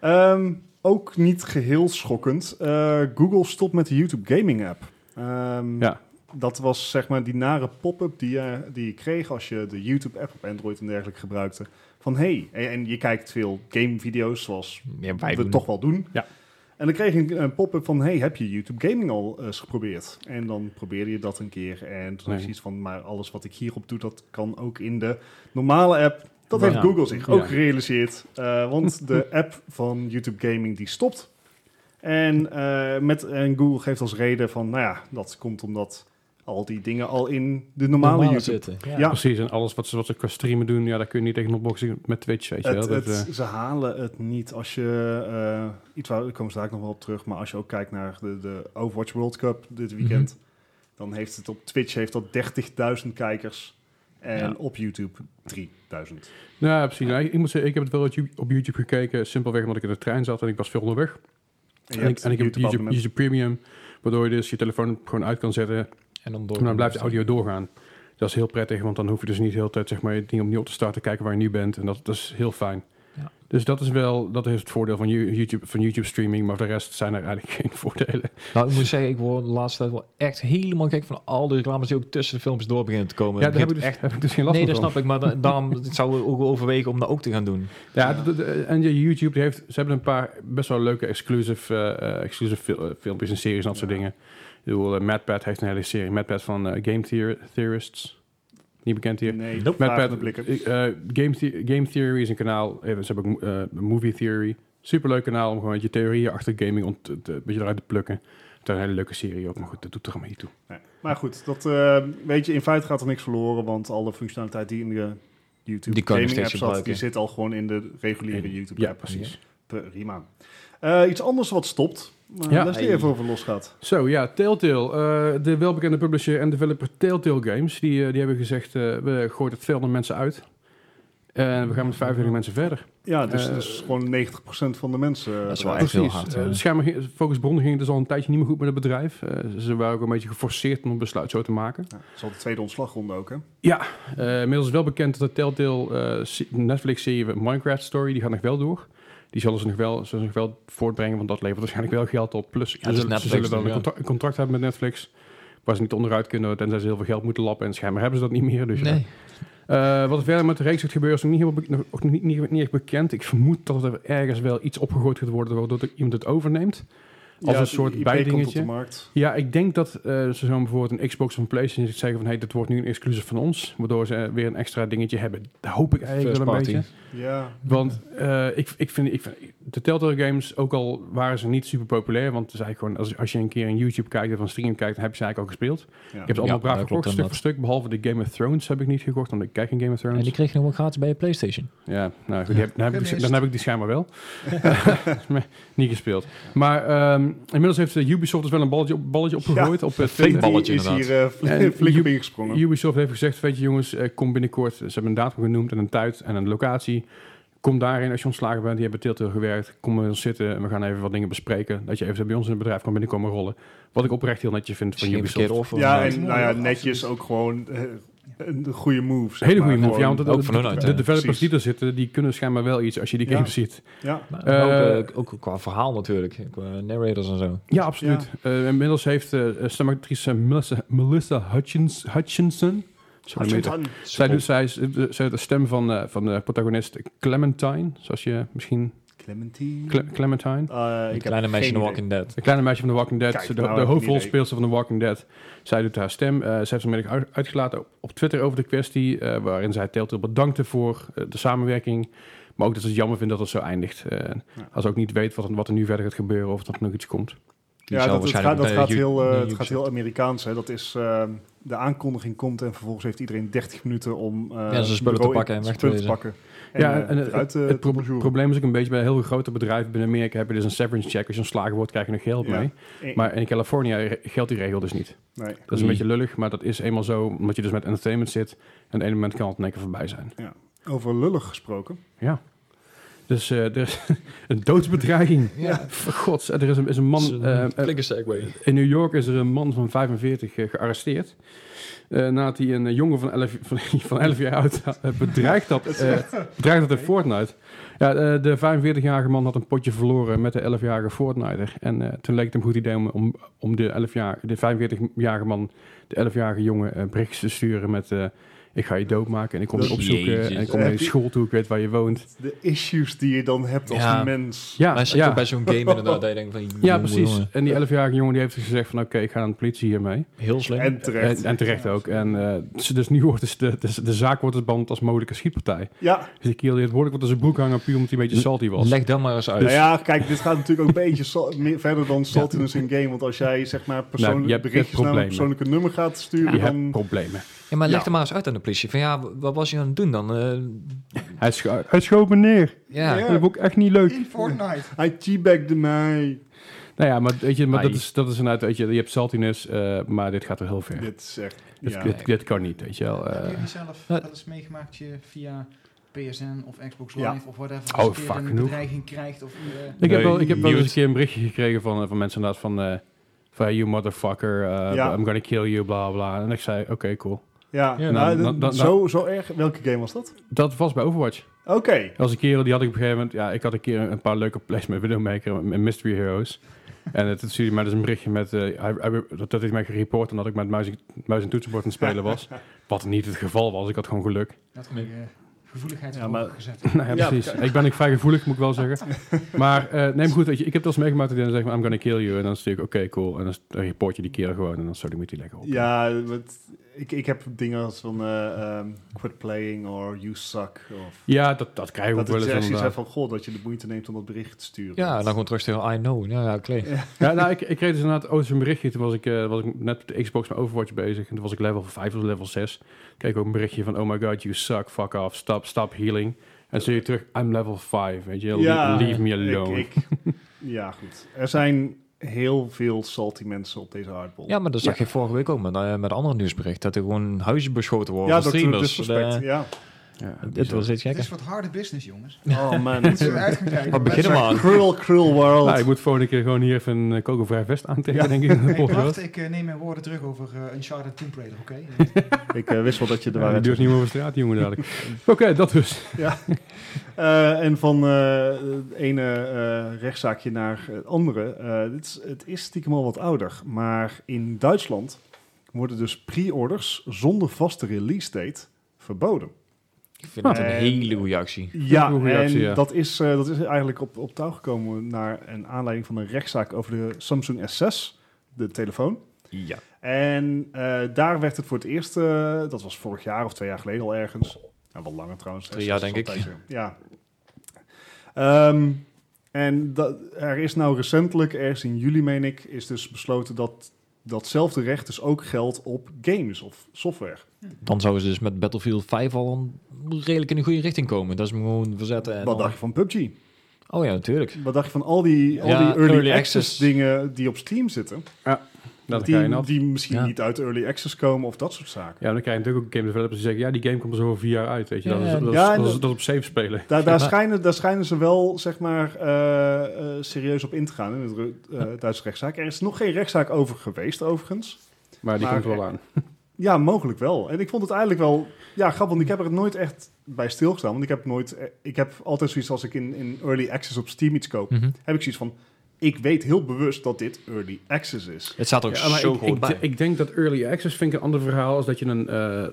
Ehm, ook niet geheel schokkend. Eh, Google stopt met de YouTube Gaming app. Ehm, Ja. Dat was zeg maar die nare pop-up die, je- die je kreeg als je de YouTube app op Android en dergelijke gebruikte. Van hey, en, en je kijkt veel gamevideo's zoals Ja, wij we doen- toch wel doen. Ja. En dan kreeg je een, een pop-up van, hey, heb je YouTube Gaming al eh, eens geprobeerd? En dan probeerde je dat een keer. En toen Nee. is iets van, maar alles wat ik hierop doe, dat kan ook in de normale app. Dat Ja. heeft Google zich Ja. ook gerealiseerd. eh, want de app van YouTube Gaming, die stopt. En, eh, met, en Google geeft als reden van, nou ja, dat komt omdat al die dingen al in de normale, normaal YouTube... zitten. Ja. Ja. Precies, en alles wat ze, wat ze qua streamen doen, ja, daar kun je niet tegen opboksen met Twitch, weet je Het, wel. Dat, het- eh, ze halen het niet als je eh, iets waar daar komen ze daar nog wel op terug, maar als je ook kijkt naar de, de Overwatch World Cup dit Mhm. weekend, dan heeft het op Twitch heeft dat 30.000 kijkers en Ja. op YouTube 3000. nou, ja, precies. Nou, ik, ik moet zeggen, ik heb het wel op You- op YouTube gekeken, simpelweg omdat ik in de trein zat en ik was veel onderweg. je En ik, hebt en ik heb YouTube, YouTube-abonnement. YouTube Premium, waardoor je dus je telefoon gewoon uit kan zetten En dan door. Maar dan blijft de audio doorgaan. Dat is heel prettig, want dan hoef je dus niet de hele tijd zeg maar, het ding opnieuw op te starten, kijken waar je nu bent. En dat, dat is heel fijn. Ja. Dus dat is wel dat is het voordeel van You- YouTube, van YouTube streaming, maar voor de rest zijn er eigenlijk geen voordelen. Nou, ik moet zeggen, ik word de laatste tijd wel echt helemaal gek van al die reclames die ook tussen de films door beginnen te komen. ja, Het daar heb ik, begint dus, heb ik dus geen last Nee, dat meer van. snap ik, maar da- daarom zou ik ook wel overwegen om dat ook te gaan doen. Ja, dat- dat- en je YouTube die heeft, ze hebben een paar best wel leuke exclusive, eh, eh, exclusive fil- eh, filmpjes en series en dat soort dingen. Ik bedoel, eh, MadPad heeft een hele serie. MadPad van eh, Game Theor- Theorists. Niet bekend hier. Nee, Nope. Met met Pat, blikken. eh, eh, Game, The- Game Theory is een kanaal. Even, ze hebben ook eh, Movie Theory. Superleuk kanaal om gewoon je theorieën achter gaming ont, te, te- een beetje eruit te plukken. Het is een hele leuke serie ook, maar goed, dat doet er allemaal niet toe. Nee. Maar goed, dat, eh, weet je, in feite gaat er niks verloren, want alle functionaliteit die in de YouTube Die kan je gaming app nog zat, steeds die gebruiken. zit al gewoon in de reguliere YouTube Ja, app. precies. Prima. Eh, iets anders wat stopt, maar Ja. daar is die Hey. even over los gaat. Zo, ja, Telltale. eh, de welbekende publisher en developer Telltale Games, die, eh, die hebben gezegd, eh, we gooien het 200 mensen uit. En we gaan met 35 mensen verder. Ja, dus Eh, dat is gewoon 90% van de mensen. dat is wel eruit. echt heel Precies. hard, Eh, ja. schijnbaar ging- Focus Bron ging het dus al een tijdje niet meer goed met het bedrijf. Eh, ze waren ook een beetje geforceerd om een besluit zo te maken. Ja, dat is al de tweede ontslagronde ook, hè? Eh, inmiddels is wel bekend dat de Telltale eh, se- Netflix-serie Minecraft Story, die gaat nog wel door. Die zullen ze nog wel, zullen ze nog wel voortbrengen, want dat levert waarschijnlijk wel geld op. Plus, dat ze, zullen- is ze dus Netflix zullen dan nog, een ja. contra- een contract hebben met Netflix, waar ze niet onderuit kunnen, tenzij ze heel veel geld moeten lappen. En schijnbaar hebben ze dat niet meer. Dus ja. nee. Eh, wat er verder met de reeks gaat gebeuren is nog niet, helemaal be- nog- nog niet, niet, niet echt bekend. Ik vermoed dat er ergens wel iets opgegooid gaat worden, waardoor er iemand het overneemt. Als Ja, een soort de IP komt op bijdingetje. de markt. Ja, ik denk dat eh, ze zo bijvoorbeeld een Xbox of een PlayStation zeggen van... hey, dit wordt nu een exclusive van ons, waardoor ze eh, weer een extra dingetje hebben. Dat hoop ik eigenlijk First wel een party. beetje. Ja, Want eh, ik, ik, vind, ik vind... De Telltale Games, ook al waren ze niet super populair... want het is eigenlijk gewoon, als, als je een keer een YouTube kijkt of een stream kijkt... dan heb je ze eigenlijk al gespeeld. ja. Ik heb ze allemaal Ja, braaf dat gekocht, klopt stuk voor stuk. Behalve de Game of Thrones heb ik niet gekocht, want ik kijk geen Game of Thrones. En die kreeg je nog wel gratis bij je PlayStation. Ja, nou, goed, die heb- dan, heb ik, die- Gemist. dan heb ik die schijnbaar wel. Maar niet gespeeld. Maar ehm, inmiddels heeft eh, Ubisoft dus wel een balletje, op, balletje opgegooid. op eh, het Twee tweede. balletje is hier eh, fl- En flink op Ju- ingesprongen. Ubisoft heeft gezegd, weet je jongens, eh, kom binnenkort. Ze hebben een datum genoemd en een tijd en een locatie. Kom daarin als je ontslagen bent. Die hebben Telltale gewerkt. Kom met ons zitten en we gaan even wat dingen bespreken. Dat je even bij ons in het bedrijf kan binnenkomen rollen. Wat ik oprecht heel netjes vind van Misschien een Ubisoft. verkeerde offer. Ja, maar- en nou ja, netjes ook gewoon eh, een goede move. zeg Hele maar. goede move, ja, Gewoon- want de, ook van hun uit, de hè? developers Precies. die er zitten, die kunnen schijnbaar wel iets als je die Ja. game ziet. ja. Maar Eh, ook, eh, ook qua verhaal natuurlijk. Qua narrators en zo. Ja, absoluut. Eh, inmiddels heeft eh stemactrice Melissa, Melissa Hutchins, Hutchinson... Sorry, Absoluut. meter. Zij, doet, zij, is, eh, de- zij doet de stem van, eh, van de protagonist Clementine. Zoals je misschien... Clementine. Cle- Clementine? Eh, ik Het heb kleine meisje in geen The idee. Walking Dead. De kleine meisje van The Walking Dead. Kijk, de nou de heb ik een hoofdrolspeelster van The Walking Dead. Zij doet haar stem. Eh, ze heeft vanmiddag uit- uitgelaten op, op Twitter over de kwestie. eh, waarin zij Telltale bedankte voor eh, de samenwerking. Maar ook dat ze het jammer vindt dat het zo eindigt. Eh, Als ze ook niet weet wat, er- wat er nu verder gaat gebeuren. Of dat er nog iets komt. Die Ja, zou dat, het gaat, waarschijnlijk dat bij gaat, Ju- heel, eh, bij het gaat Ubisoft. heel Amerikaans. Hè. Dat is, eh, de aankondiging komt en vervolgens heeft iedereen 30 minuten om eh, Ja, zijn spullen bureau te pakken en in- weg te spullen wezen. pakken. Ja, eh, en het- eruit, eh, het te proble- bonjouren. probleem is ook een beetje bij heel grote bedrijven binnen Amerika. Heb je dus een severance check. Als je ontslagen wordt krijg je nog geld Ja. mee. Eh, Maar in Californië re- geldt die regel dus niet. nee. Dat is een beetje lullig, maar dat is eenmaal zo. Omdat je dus met entertainment zit. En op een moment kan het in één keer voorbij zijn. Over lullig gesproken. Ja. Dus eh, er is een doodsbedreiging. Ja. Voor Gods, er is een, is een man... Dat is een eh, eh, flinke segue. in New York is er een man van 45 eh, gearresteerd. eh, nadat hij een eh, jongen van 11, van, van 11 jaar oud eh, bedreigd had. eh, bedreigd had in Fortnite. Ja, eh, de 45-jarige man had een potje verloren met de 11-jarige Fortniter. En eh, toen leek het hem een goed idee om, om, om de, 11 jaar, de 45-jarige man, de 11-jarige jongen, een berichtjes te sturen met... eh, ik ga je doodmaken en ik kom je Dat- opzoeken en ik Jezus. kom naar je school toe, ik weet waar je woont. De issues die je dan hebt als Ja. mens. Ja, Maar zit ja. ook bij zo'n game inderdaad. Dat je denkt van, ja jongen, precies. jongen. En die 11-jarige jongen die heeft dus gezegd van... oké, ik ga aan de politie hiermee. Heel slim. En terecht. En, en terecht ook. En eh, ze- dus nu wordt dus de, de, de zaak wordt het band als mogelijke schietpartij. ja, Dus ik hield het woordelijk wat als een broek hangen... puur omdat hij een beetje salty was. Leg dat maar eens Dus- uit. nou ja, kijk, dit gaat natuurlijk ook een beetje sal- meer verder dan saltiness in game. Want als jij zeg maar persoonlijke Nou, je hebt- je hebt berichtjes naar een problemen. persoonlijke nummer gaat sturen, Je dan... hebt problemen. Ja, maar leg Ja. er maar eens uit aan de politie. Van ja, w- wat was je aan het doen dan? Eh, Hij, scho hij schoot me neer. ja. Ja. Dat vond ik echt niet leuk. In Fortnite. Hij teabagde mij. Nou ja, maar, weet je, maar dat, Ai. is, dat is inderdaad... Weet je, je hebt saltiness, eh, maar dit gaat er heel ver. Dit, Dit is echt... dit, Ja. dit, kan niet, weet je wel. Heb Eh, jullie zelf eh. wel eens meegemaakt dat je via PSN of Xbox Live Ja. of whatever Oh, eens een keer vaak een genoeg. bedreiging krijgt? Of, eh, ik heb wel, ik heb wel eens Mute. een keer een berichtje gekregen van, eh, van mensen inderdaad van... eh, van hey, you motherfucker, eh, Ja. I'm gonna kill you, bla bla. En ik zei, oké, cool. Ja, Ja, nou, dan- dan- dan- zo, zo erg. Welke game was dat? Dat was bij Overwatch. Oké. Als een kerel die had ik op een gegeven moment. Ja, ik had een keer een paar leuke plays met Widowmaker en Mystery Heroes. En eh, toen stuurde hij mij dus een berichtje met. eh, hij- hij- dat dat hij mij gereport en dat ik met muis, muis en toetsenbord aan het spelen was. Wat niet het geval was. Ik had gewoon geluk. dat kan ik eh, gevoeligheid Ja, maar- voor gezet. nou ja, Ja, precies. Ik ben ook vrij gevoelig, moet ik wel zeggen. Maar eh neem goed, weet je, ik heb dat eens meegemaakt. Dat hij dan zegt, I'm gonna kill you. En dan stuur ik, oké, cool. En dan, dan report je die kerel gewoon. En dan sorry, moet hij lekker op. Ja, wat, ik, ik heb dingen als van eh, ehm, quit playing or you suck. Of, Ja, dat, dat krijgen we dat ook wel eens. het echt iets inderdaad. hebt van, goh, dat je de moeite neemt om dat bericht te sturen. Ja, en dan gewoon terug tegen I know. Ja, ja, Clay. Ja, nou, ik, ik reed dus inderdaad ooit zo'n berichtje. Toen was ik, eh, was ik net met de Xbox met Overwatch bezig. En toen was ik level 5 of level 6. Kreeg ik ook een berichtje van... Oh my god, you suck, fuck off, stop, stop healing. En toen je terug, I'm level 5, weet je. Le- leave me ik- alone. ik- ja, goed. Er zijn heel veel salty mensen op deze hardball. Ja, maar dat zag ik vorige week ook met, eh, met een ander nieuwsbericht. Dat er gewoon huizen beschoten worden. ja van dat dus streamers. Eh, disrespect. De- Ja. Ja, Het was iets Het is gekker. wat harde business, jongens. Oh man. Moeten we uitgaan kijken. Wat beginnen we aan? cruel, cruel world. Nou, ik moet volgende keer gewoon hier even een eh, kogelvrij vest aantrekken, denk ik. in de Hey, podcast. wacht, ik eh, neem mijn woorden terug over eh, Uncharted Tomb Raider, oké? Nou, Ik eh, wist wel dat je er Ja, die waren. durft niet meer over straat, jongen, dadelijk. Oké, dat dus. Eh, en van eh, het ene eh, rechtszaakje naar het andere. Eh, dit is, het is stiekem al wat ouder. Maar in Duitsland worden dus pre-orders zonder vaste release date verboden. Ik vind het een Eh, hele goede actie. Ja, Een reactie, en ja. Dat, is, eh, dat is eigenlijk op, op touw gekomen naar een aanleiding van een rechtszaak over de Samsung S6, de telefoon. Ja. En eh, daar werd het voor het eerst, eh, dat was vorig jaar of twee jaar geleden al ergens. Nou, wel langer trouwens. Drie jaar, S6 is denk al ik. een tijdje. Ja. Ehm, en dat, er is nou recentelijk, ergens in juli meen ik, is dus besloten dat datzelfde recht dus ook geldt op games of software. Dan zouden ze dus met Battlefield 5 al een- redelijk in de goede richting komen. Dat is hem gewoon verzetten. En Wat dan- dacht je van PUBG? Oh ja, natuurlijk. Wat dacht je van al die, al Ja, die early, early access, access. dingen die op Steam zitten? Dat ga je nou die, nat. die misschien Ja. niet uit early access komen of dat soort zaken. Ja, dan krijg je natuurlijk ook game developers die zeggen... Ja, die game komt er zo over vier jaar uit, weet je. Dat is, Ja, dat is, ja, en dat is- dat- dat is op safe spelen. Daar, daar, Maar- schijnen, daar schijnen ze wel zeg maar, eh, eh, serieus op in te gaan in de Ru- eh, Duitse rechtszaak. Er is nog geen rechtszaak over geweest, overigens. Maar die Maar- eh, komt wel aan. Ja, mogelijk wel. En ik vond het eigenlijk wel ja, grappig, want ik heb er nooit echt bij stilgestaan. Want ik heb, nooit, eh, ik heb altijd zoiets als ik in, in early access op Steam iets koop, Mhm. heb ik zoiets van, ik weet heel bewust dat dit early access is. Het staat er ook Ja, maar zo ik, goed ik, bij. ik denk dat early access vind ik een ander verhaal als dat je een eh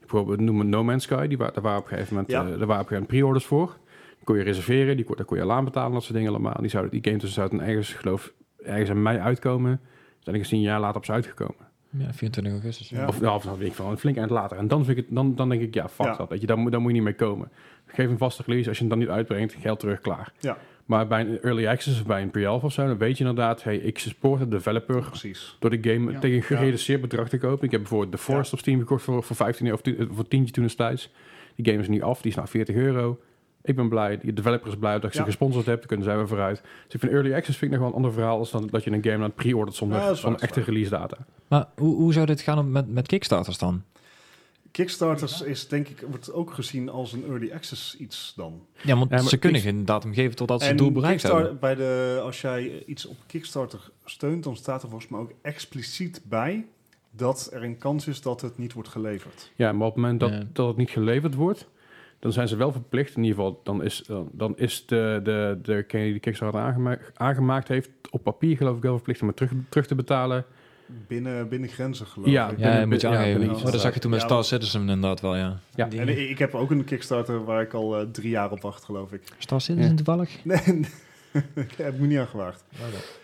bijvoorbeeld noem het No Man's Sky, die wa- daar waren op een gegeven moment Ja. eh, daar waren op een gegeven moment pre-orders voor. Die kon je reserveren, die kon, daar kon je al aan betalen, dat soort dingen allemaal. Die zouden die game dus zouden ergens geloof ergens in mei uitkomen. Zijn ik een jaar later op ze uitgekomen. ja, 24 augustus. Ja. Of nou, of dan weet ik van een flink eind later. En dan vind ik het, dan, dan denk ik ja, fuck Ja. dat. Weet je, daar, moet- daar moet je niet mee komen. Geef een vaste release. Als je hem dan niet uitbrengt, geld terug klaar. Ja. Maar bij een early access of bij een pre-alpha of zo, dan weet je inderdaad, hey, ik support de developer Precies. door de game Ja. tegen een gereduceerd bedrag te kopen. Ik heb bijvoorbeeld The Forest op Steam gekocht voor, voor 15 euro, of tien- eh, voor tientje toen destijds. Die game is nu af, die is nou 40 euro. Ik ben blij, de developer is blij dat ik ze Ja. gesponsord heb, dan kunnen zij weer vooruit. Dus ik vind early access vind ik nog wel een ander verhaal als dan dat je een game aan het pre-ordert zonder, Ja, dat is waar, zonder dat is echte release data. Maar hoe, hoe zou dit gaan om met, met Kickstarters dan? Kickstarters is denk ik, wordt ook gezien als een early access iets dan. Ja, want Ja, maar ze kunnen Kick- geen datum geven totdat ze het doel bereikt Kickstar- hebben. Bij de, als jij iets op Kickstarter steunt, dan staat er volgens mij ook expliciet bij dat er een kans is dat het niet wordt geleverd. Ja, maar op het moment dat, Ja. dat het niet geleverd wordt, dan zijn ze wel verplicht. In ieder geval, dan is, dan, dan is de, de, degene die de Kickstarter aangemaakt, aangemaakt heeft, op papier geloof ik wel verplicht om het terug, terug te betalen. Binnen, binnen grenzen geloof Ja. ik. Ja, Ja, binnen- moet je ja, aangeven. binnen Oh, iets. dat zag je toen met Ja, Star Citizen inderdaad wel, ja. Ja. Die- En ik, ik heb ook een Kickstarter waar ik al eh, drie jaar op wacht, geloof ik. Star Citizen Ja. toevallig? Nee, ik heb me niet aan gewaagd. Ja,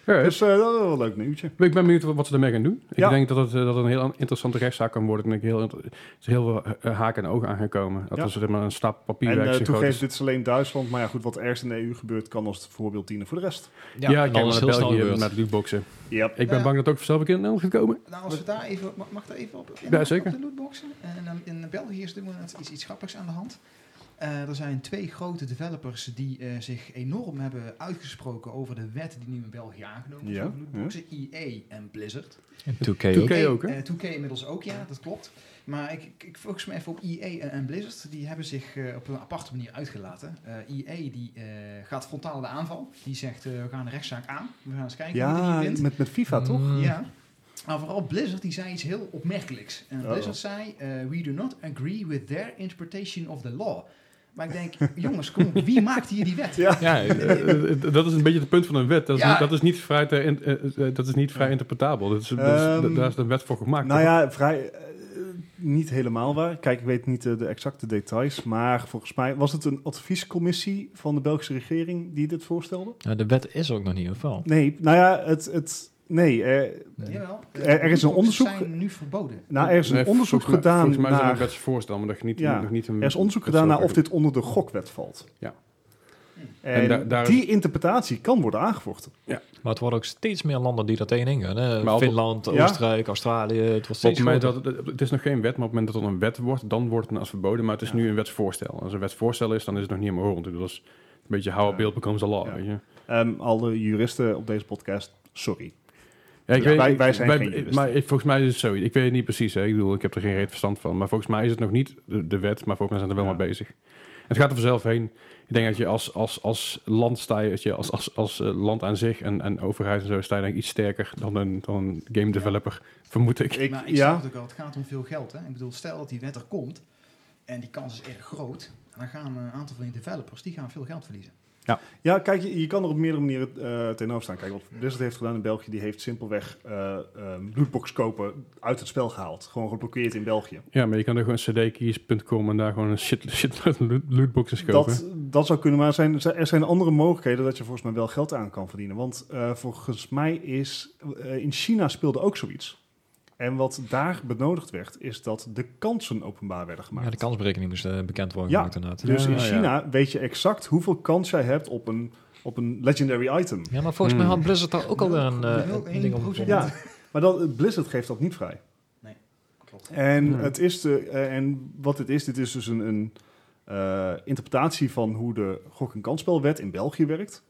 Dus eh, dat is wel een leuk nieuwtje. Maar Ik ben benieuwd wat wat ze ermee gaan doen. Ja. Ik denk dat het, eh, dat het een heel interessante rechtszaak kan worden. Ik denk heel, inter- er is heel veel eh, haken en ogen aan gaan komen. Dat Ja. is er maar een stap En papierwerk. eh, zo groot toegeef, is. dit is alleen Duitsland. Maar ja, goed, wat ergens in de EU gebeurt, kan als voorbeeld dienen voor de rest. ja, ik dan ken is naar het heel snel België gebeurd. met lootboxen. Yep. Ik ben Ja. bang dat het ook vanzelf een keer in Nederland gaat komen. Nou, als we daar even, ma- mag daar even op, in, Ja, zeker. op de lootboxen? En, ehm, in België is er moment iets, iets grappigs aan de hand. Eh, er zijn twee grote developers die eh, zich enorm hebben uitgesproken over de wet die nu in België aangenomen is Ja, over lootboxen. EA en Blizzard. 2K ook. 2K ook, hè? Eh, 2K inmiddels ook, ja, dat klopt. Maar ik, ik, ik focus me even op EA en, en Blizzard. Die hebben zich eh, op een aparte manier uitgelaten. Eh EA die eh, gaat frontaal de aanval. Die zegt, eh, we gaan de rechtszaak aan. We gaan eens kijken wie er Ja, hier wint. met, met FIFA toch? Mm, Ja. Maar vooral Blizzard, die zei iets heel opmerkelijks. En Uh-oh. Blizzard zei, eh, we do not agree with their interpretation of the law. Maar ik denk, jongens, kom op, wie maakt hier die wet? Ja. Ja, eh, Eh, eh, dat is een beetje het punt van een wet. Dat is, Ja. niet, dat is niet vrij, te in- eh, eh, dat is niet vrij interpretabel. Dat is, dat is- Ehm, da- daar is de wet voor gemaakt. Nou toch? ja, vrij, eh, niet helemaal waar. Kijk, ik weet niet eh, de exacte details, maar volgens mij was het een adviescommissie van de Belgische regering die dit voorstelde? nou, de wet is ook nog niet, of wel? Nee, nou ja, het, het, Nee, eh, Jawel. eh, Er- er is een onderzoek- zijn nu verboden. nou, er is een Nee, onderzoek volgens mij- gedaan Volgens mij zijn naar... dat best voorstel, maar dat niet, Ja. nog niet een... Er is onderzoek dat gedaan zou naar of ik- dit onder de gokwet valt. Ja. En, En da- daar is- die interpretatie kan worden aangevochten. Maar het worden ook steeds meer landen die dat tegenin gaan. hè. Maar op- Finland, Ja. Oostenrijk, Australië. Het wordt Op het steeds moment groter. dat het, het is nog geen wet, maar op het moment dat het een wet wordt, dan wordt het als verboden. Maar het is nu een wetsvoorstel. Als een wetsvoorstel is, dan is het nog niet helemaal rond. Dat is een beetje how a bill becomes a law, Ja. weet je. Ehm, alle juristen op deze podcast, sorry. Ja, ik Ja, weet, Dus wij- wij zijn wij- geen juristen. Maar ik- volgens mij is het zo. Ik weet het niet precies. Hè. Ik bedoel, ik heb er geen reet verstand van. Maar volgens mij is het nog niet de, de wet, maar volgens mij zijn we er wel Ja. mee bezig. Het gaat er vanzelf heen. Ik denk dat je als, als, als land sta je, dat je als, als, als eh, land aan zich en, en overheid en zo sta je denk ik iets sterker dan een, dan een game developer, vermoed ik. Ik, maar ik ja, snap het ook al, het gaat om veel geld. Hè? Ik bedoel, stel dat die wet er komt, en die kans is erg groot, dan gaan eh, een aantal van die developers, die gaan veel geld verliezen. ja, kijk, je, je kan er op meerdere manieren eh, tegenover staan. Kijk, wat Blizzard heeft gedaan in België, die heeft simpelweg eh ehm, lootbox kopen uit het spel gehaald. Gewoon geblokkeerd in België. Ja, maar je kan er gewoon cdkeys.com en daar gewoon een shit, shit loot- lootboxes kopen. Dat, dat zou kunnen, maar er zijn, er zijn andere mogelijkheden dat je volgens mij wel geld aan kan verdienen. Want eh, volgens mij is, eh, in China speelde ook zoiets. En wat daar benodigd werd, is dat de kansen openbaar werden gemaakt. Ja, de kansberekening moest eh, bekend worden Ja. gemaakt inderdaad. Dus Ja, in ja. China weet je exact hoeveel kans jij hebt op een, op een legendary item. Ja, maar volgens Hmm. mij had Blizzard daar ook alweer een, eh, een Nul- één ding op. procent. Ja, maar dat, Blizzard geeft dat niet vrij. Klopt. En, Hmm. het is de, eh, en wat het is, dit is dus een, een eh, interpretatie van hoe de gok- en kansspelwet in België werkt.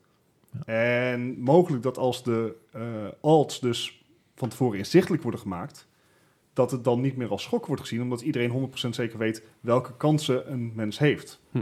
En mogelijk dat als de eh odds dus van tevoren inzichtelijk worden gemaakt, dat het dan niet meer als schok wordt gezien, omdat iedereen 100% zeker weet welke kansen een mens heeft. Hm.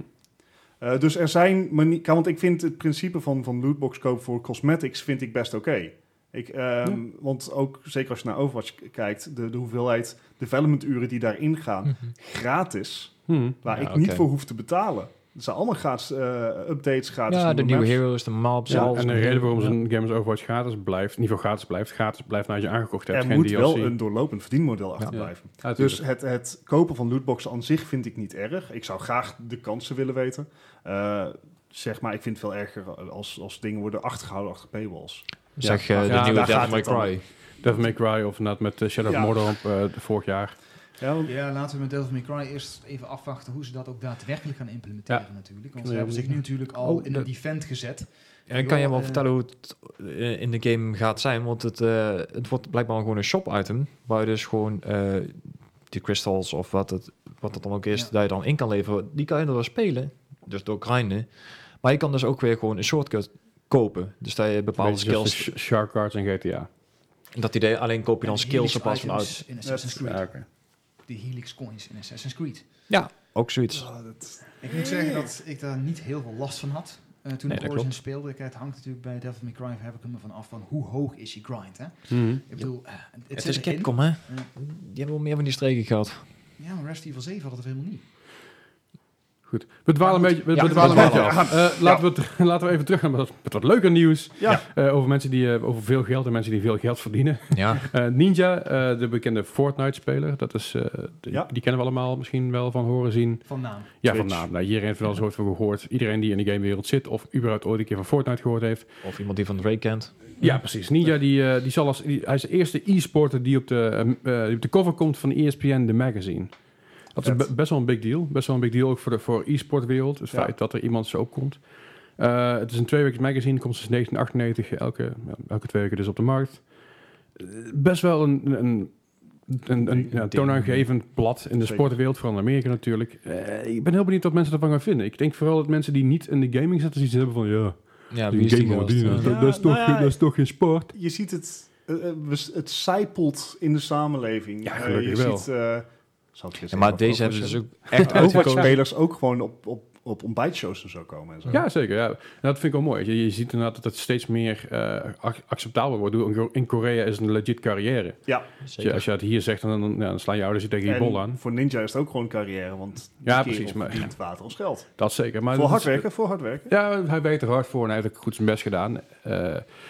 Eh, dus er zijn manieren, want ik vind het principe van, van lootbox kopen voor cosmetics vind ik best oké. Ik, ehm, Want ook zeker als je naar Overwatch k- kijkt, de, de hoeveelheid developmenturen die daarin gaan, Mhm. gratis, Hm. waar Ja, ik niet oké. voor hoef te betalen. Het zijn allemaal gratis eh, updates, gratis. Ja, de nieuwe maps. heroes, de maps, Ja, alles. en de reden waarom zo'n game als Overwatch gratis blijft, in ieder geval gratis blijft, gratis blijft nadat je aangekocht hebt. Er geen moet DLC. wel een doorlopend verdienmodel Ja. achterblijven. Ja, tuurlijk. Dus het, het kopen van lootboxen aan zich vind ik niet erg. Ik zou graag de kansen willen weten. Eh, zeg maar, ik vind het veel erger als, als dingen worden achtergehouden achter paywalls. Zeg, Ja, eh, de ja, nieuwe daar Devil gaat May het dan. Cry. Devil May Cry of inderdaad met eh, Shadow Ja. of Mordor op, eh, de- vorig jaar. Ja, want- Ja, laten we met Devil May Cry eerst even afwachten hoe ze dat ook daadwerkelijk gaan implementeren Ja. natuurlijk. Want Ja, ze hebben ja. zich nu natuurlijk al Oh, in dat- een event gezet. En kan je Joh, wel eh, vertellen hoe het eh, in de game gaat zijn? Want het, eh, het wordt blijkbaar gewoon een shop-item. Waar je dus gewoon eh die crystals of wat het, wat het dan ook is, Ja. dat je dan in kan leveren. Die kan je er wel spelen. Dus door grinden. Maar je kan dus ook weer gewoon een shortcut kopen. Dus dat je bepaalde Beetje zoals skills... de sh- Shark Cards en GTA. Dat idee, alleen koop je dan En skills Helix op plaats van items uit. In Assassin's Ja, Creed. Ja, oké. Die Helix coins in Assassin's Creed. Ja, ook zoiets. Ah, dat- Ik moet zeggen dat ik daar niet heel veel last van had. eh, toen Nee, ik dat Origin klopt. speelde, Kijk, het hangt natuurlijk bij Devil May Cry, heb ik hem ervan af van hoe hoog is je grind, hè? Mhm. Hmm. Ik bedoel, eh, het, Het, zit is erin. Capcom, hè? Ja. Die hebben wel meer van die streken gehad. Ja, maar Resident Evil 7 had het helemaal niet. Goed. We dwalen een beetje, we, Ja, we we dwalen een beetje dwalen af. Eh, laten, we het- laten we even terug naar wat, met wat leuker nieuws. Ja. Eh, over mensen die eh, over veel geld en mensen die veel geld verdienen. Ja. Eh, Ninja, eh, de bekende Fortnite-speler. Dat is, eh, de- Ja. Die kennen we allemaal misschien wel van horen zien. Van naam. Ja, Twitch. van naam. Nou, iedereen heeft er wel eens ooit van gehoord. Iedereen die in de gamewereld zit of überhaupt ooit een keer van Fortnite gehoord heeft. Of iemand die van Drake kent. Ja, precies. Ninja, die, eh, die zal als, die- hij is de eerste e-sporter die op, de, eh, eh, die op de cover komt van E ESPN, de magazine. Dat is Vet. be- best wel een big deal. Best wel een big deal ook voor de voor e-sportwereld. Het Ja. feit dat er iemand zo opkomt. Eh, het is een tweewekelijks magazine, komt sinds 1998 elke, ja, elke twee weken dus op de markt. Eh, Best wel een, een, een, een, een ja, toonaangevend blad in de Zeker. sportwereld, vooral in Amerika natuurlijk. Eh, ik ben heel benieuwd wat mensen ervan gaan vinden. Ik denk vooral dat mensen die niet in de gaming zitten, zoiets hebben van ja, Ja, die wie is die gamer, gast? die, Ja. dat, dat is Ja, toch, nou ja. dat is toch geen sport. je ziet het, eh, eh, we- het zijpelt in de samenleving. Ja, Eh, gelukkig je wel. Ziet, eh, zou ik Ja, maar deze hebben ze dus ook echt ook uitgekozen. spelers ook gewoon op, op, op ontbijtshows en zo komen. En zo. Ja, zeker. Ja. En dat vind ik wel mooi. Je, je ziet inderdaad dat het steeds meer eh, ac- acceptabel wordt. Ik bedoel, In Korea is het een legit carrière. Ja, Als je, als je dat hier zegt, dan, dan, ja, dan slaan je ouders je tegen je en bol aan. voor Ninja is het ook gewoon carrière, want die Ja, kerel precies, maar- verdient water als geld. Dat zeker. Maar voor dat hard is- werken, voor hard werken. Ja, hij weet er hard voor en hij heeft ook goed zijn best gedaan. Eh,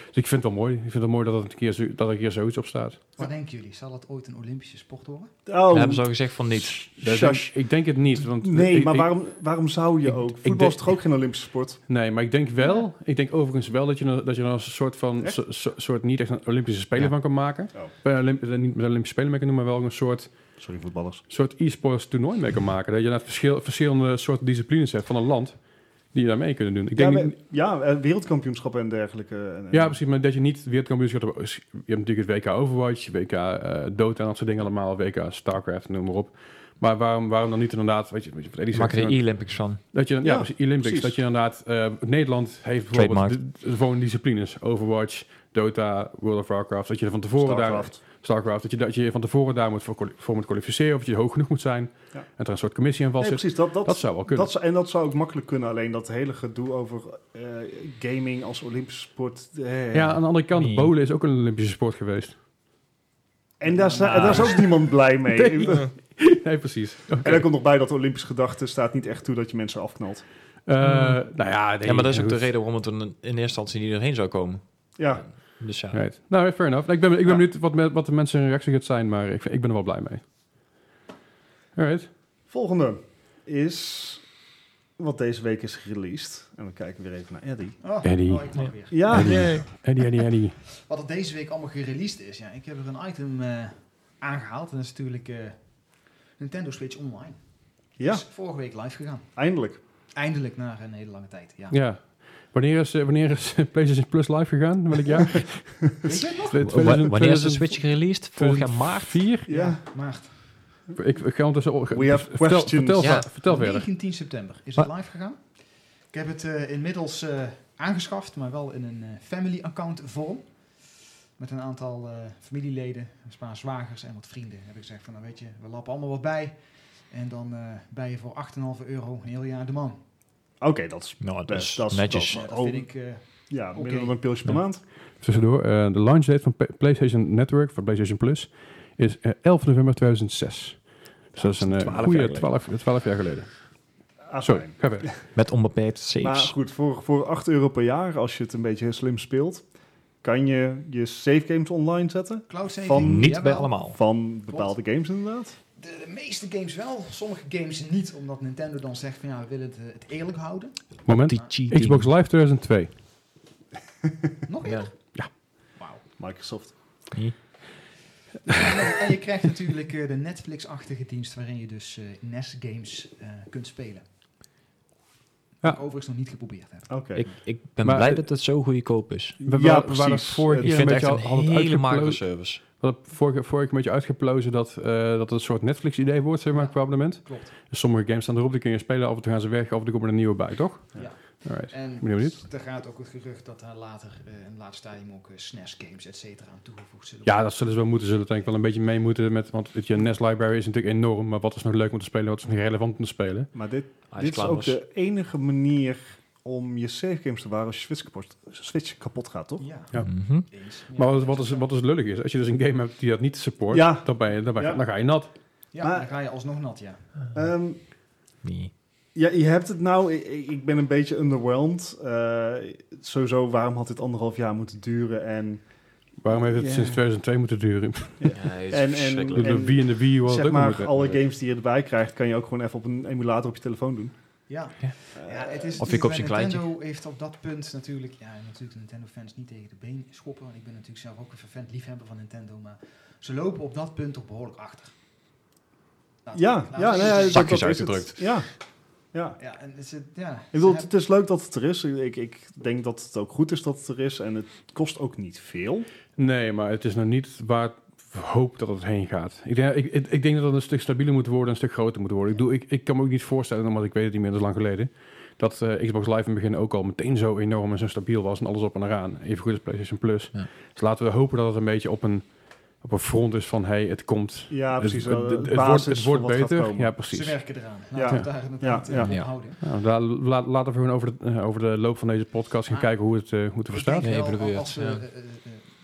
dus ik vind het wel mooi. Ik vind het wel mooi dat, het een keer zo- dat er hier zoiets op staat. Wat denken jullie? Zal dat ooit een Olympische sport worden? Oh, Daar hebben ze al gezegd van niet. Dat shush. denk- ik denk het niet. Want Nee, ik- maar ik- waarom, waarom zou je je Ik- ook. ik Voetbal denk- is toch ook geen Olympische sport? Nee, maar ik denk wel, ik denk overigens wel dat je, er- dat je er als een soort van, Echt? so- so- soort niet echt een Olympische Spelen Ja. van kan maken. Oh. Eh, Olymp- eh, niet met Olympische Spelen mee kan doen, maar wel een soort, Sorry, voetballers. soort e-sports toernooi mee kan maken. Dat je naar verschil, verschillende soorten disciplines hebt van een land die je daarmee kunnen doen. Ik Ja, denk maar- niet- ja, eh, wereldkampioenschappen en dergelijke. En- en- ja, precies, maar dat je niet wereldkampioenschap hebt. Je hebt natuurlijk het WK Overwatch, WK eh Dota en dat soort dingen allemaal, WK Starcraft, noem maar op. Maar waarom, waarom dan niet inderdaad, weet je, weet je wat Eddie Maak er zegt, de e-Olympics van. Dat je, ja, Ja, precies, Olympics. precies. Dat je inderdaad, eh, Nederland heeft bijvoorbeeld d- gewoon disciplines. Overwatch, Dota, World of Warcraft. Dat je er van tevoren Starcraft. daar... Starcraft. Dat je, dat je van tevoren daar moet voor, kwali- voor moet kwalificeren. Of dat je hoog genoeg moet zijn. Ja. En dat er een soort commissie aan vast Nee, zit. precies. Dat, dat, Dat zou wel kunnen. Dat zou- en dat zou ook makkelijk kunnen. Alleen dat hele gedoe over eh, gaming als Olympische sport. eh. ja, aan de andere kant, Nee. bowlen is ook een Olympische sport geweest. En daar, sta- Nou. daar is ook niemand blij mee. nee, precies. En er komt nog bij dat de Olympische gedachte staat niet echt toe dat je mensen afknalt. Eh, Nou ja, nee, ja, maar dat is ook goed. de reden waarom het er in eerste instantie niet doorheen zou komen. Ja, Dus ja. Right. Nou, fair enough. Ik ben, ik ben Ja. benieuwd wat, me- wat de mensen hun reactie gaat zijn. Maar ik, vind- ik ben er wel blij mee. Alright. volgende is wat deze week is gereleased. En we kijken weer even naar Eddie. Oh, Eddie. oh, ik mag weer. Ah, Ja, Eddie, Eddie, Eddie. Wat er deze week allemaal gereleased is. Ja, ik heb er een item eh, aangehaald. En dat is natuurlijk eh, Nintendo Switch Online. ja Is vorige week live gegaan. eindelijk. Eindelijk na een hele lange tijd. Ja. Ja. Wanneer is, eh, wanneer is eh, PlayStation Plus live gegaan? Welk jaar? Weet je het nog? Wanneer is de Switch gereleased? Vorig jaar maart. 4? Ja. Maart. Ik, ik ga ondertussen... op- We have vertel, questions. vertel, Ja. vertel verder. 19 september is Maar- het live gegaan. Ik heb het eh, inmiddels eh, aangeschaft, maar wel in een eh, family account vorm. Met een aantal eh, familieleden, een paar zwagers en wat vrienden. Heb ik gezegd van, nou weet je, we lappen allemaal wat bij. En dan eh ben je voor 8,5 euro een heel jaar de man. Oké, dat is. Nou, dat is Dat is- netjes. dat Nou, dat Oh. vind ik... eh, Ja, Oké. minder dan een pilsje per Ja. maand. Tussendoor, eh, de launch date van P- PlayStation Network, van PlayStation Plus, is eh, 11 november 2006. Dus dat is een eh, 12 jaar goede geleden. 12, 12 jaar geleden. Ah, Sorry, fijn. ga verder. Met onbeperkt Maar saves. goed, voor, voor 8 euro per jaar, als je het een beetje slim speelt, kan je je save games online zetten. Cloud saving. Van Niet bij jawel. allemaal. Van bepaalde games inderdaad. De, de meeste games wel, sommige games niet. Omdat Nintendo dan zegt van ja, we willen het, eh, het eerlijk houden. Moment. Die cheating. Xbox Live 2002. Nog Ja. eerder? Ja. Wauw. Microsoft. En je krijgt natuurlijk eh, de Netflix-achtige dienst waarin je dus eh, NES-games eh, kunt spelen. Ja. Ja. overigens nog niet geprobeerd heb. Oké. Ik, ik ben Maar- blij dat het zo goedkoop is. We, Ja, waren- we waren precies. vorig Ik Ik jaar een vind het beetje, al- echt een hadden het hele uitgeplozen- microservice. we hadden vorige, vorige een beetje uitgeplozen dat, eh, dat het een soort Netflix-idee wordt, zeg maar, Ja. qua abonnement. Klopt. Sommige games staan erop, die kun je spelen, af en toe gaan ze weg, af en toe komt er een nieuwe bij, toch? Ja. Alright. En Ben je benieuwd? er gaat ook het gerucht dat daar later eh, in het laatste stadium ook eh, SNES-games, et cetera, aan toegevoegd zullen Ja, dat zullen ze wel moeten. Zullen denk ik wel een beetje mee moeten. Met, want het, je NES E library is natuurlijk enorm. Maar wat is nog leuk om te spelen? Wat is nog relevant om te spelen? Maar dit, Hij dit is klaar ook was. de enige manier om je save games te waren als je Switch kapot, Switch kapot gaat, toch? Ja, Ja. Mhm. eens. Maar wat, wat, is, wat is lullig is, als je dus een game hebt die dat niet support, Ja. dan, ben je, dan, ben je- Ja. dan ga je nat. Ja, Maar- dan ga je alsnog nat, ja. Ehm, Nee. ja, je hebt het nou. Ik, ik- ik ben een beetje underwhelmed. Eh, sowieso, waarom had dit anderhalf jaar moeten duren? En, Waarom heeft het Ja. sinds 2002 moeten duren? en, en, De en Wii en de Wii was het zeg ook maar, moeten. alle games die je erbij krijgt, kan je ook gewoon even op een emulator op je telefoon doen. Ja. Ja. Eh, Ja, het is Of je koopt natuurlijk- een kleintje. Nintendo heeft op dat punt natuurlijk, ja, natuurlijk de Nintendo-fans niet tegen de been schoppen. Want ik ben natuurlijk zelf ook een vervent liefhebber van Nintendo, maar ze lopen op dat punt toch behoorlijk achter. Laten we- Ja, laten we ja, eerlijk nou ja, zijn. dat- Zakjes dat is het. uitgedrukt. Ja, ja. Ja, en is het, ja. Ik bedoel, het is leuk dat het er is. Ik, ik denk dat het ook goed is dat het er is. En het kost ook niet veel. Nee, maar het is nog niet waar ik hoop dat het heen gaat. Ik denk, ik, ik, ik denk dat het een stuk stabieler moet worden, een stuk groter moet worden. Ik, bedoel, ik, ik kan me ook niet voorstellen, omdat ik weet het niet meer, dat is lang geleden, dat eh, Xbox Live in het begin ook al meteen zo enorm en zo stabiel was en alles op en eraan. Even goed als PlayStation Plus. Ja. Dus laten we hopen dat het een beetje op een, op een front is van, hey, het komt. Ja, precies. Dus Het, wel het- de het wordt, basis het voor wordt wat gaat beter. komen. Ja, ze precies. werken eraan. Laten Ja. we het daar inderdaad Ja, ja. eh, Ja. houden. Nou, daar- la- laten we gewoon over de, eh, over de loop van deze podcast gaan Ah. kijken hoe het, eh, hoe het ervoor Ik staat. denk Nee, wel, evalueert, als we ja. eh, eh, eh,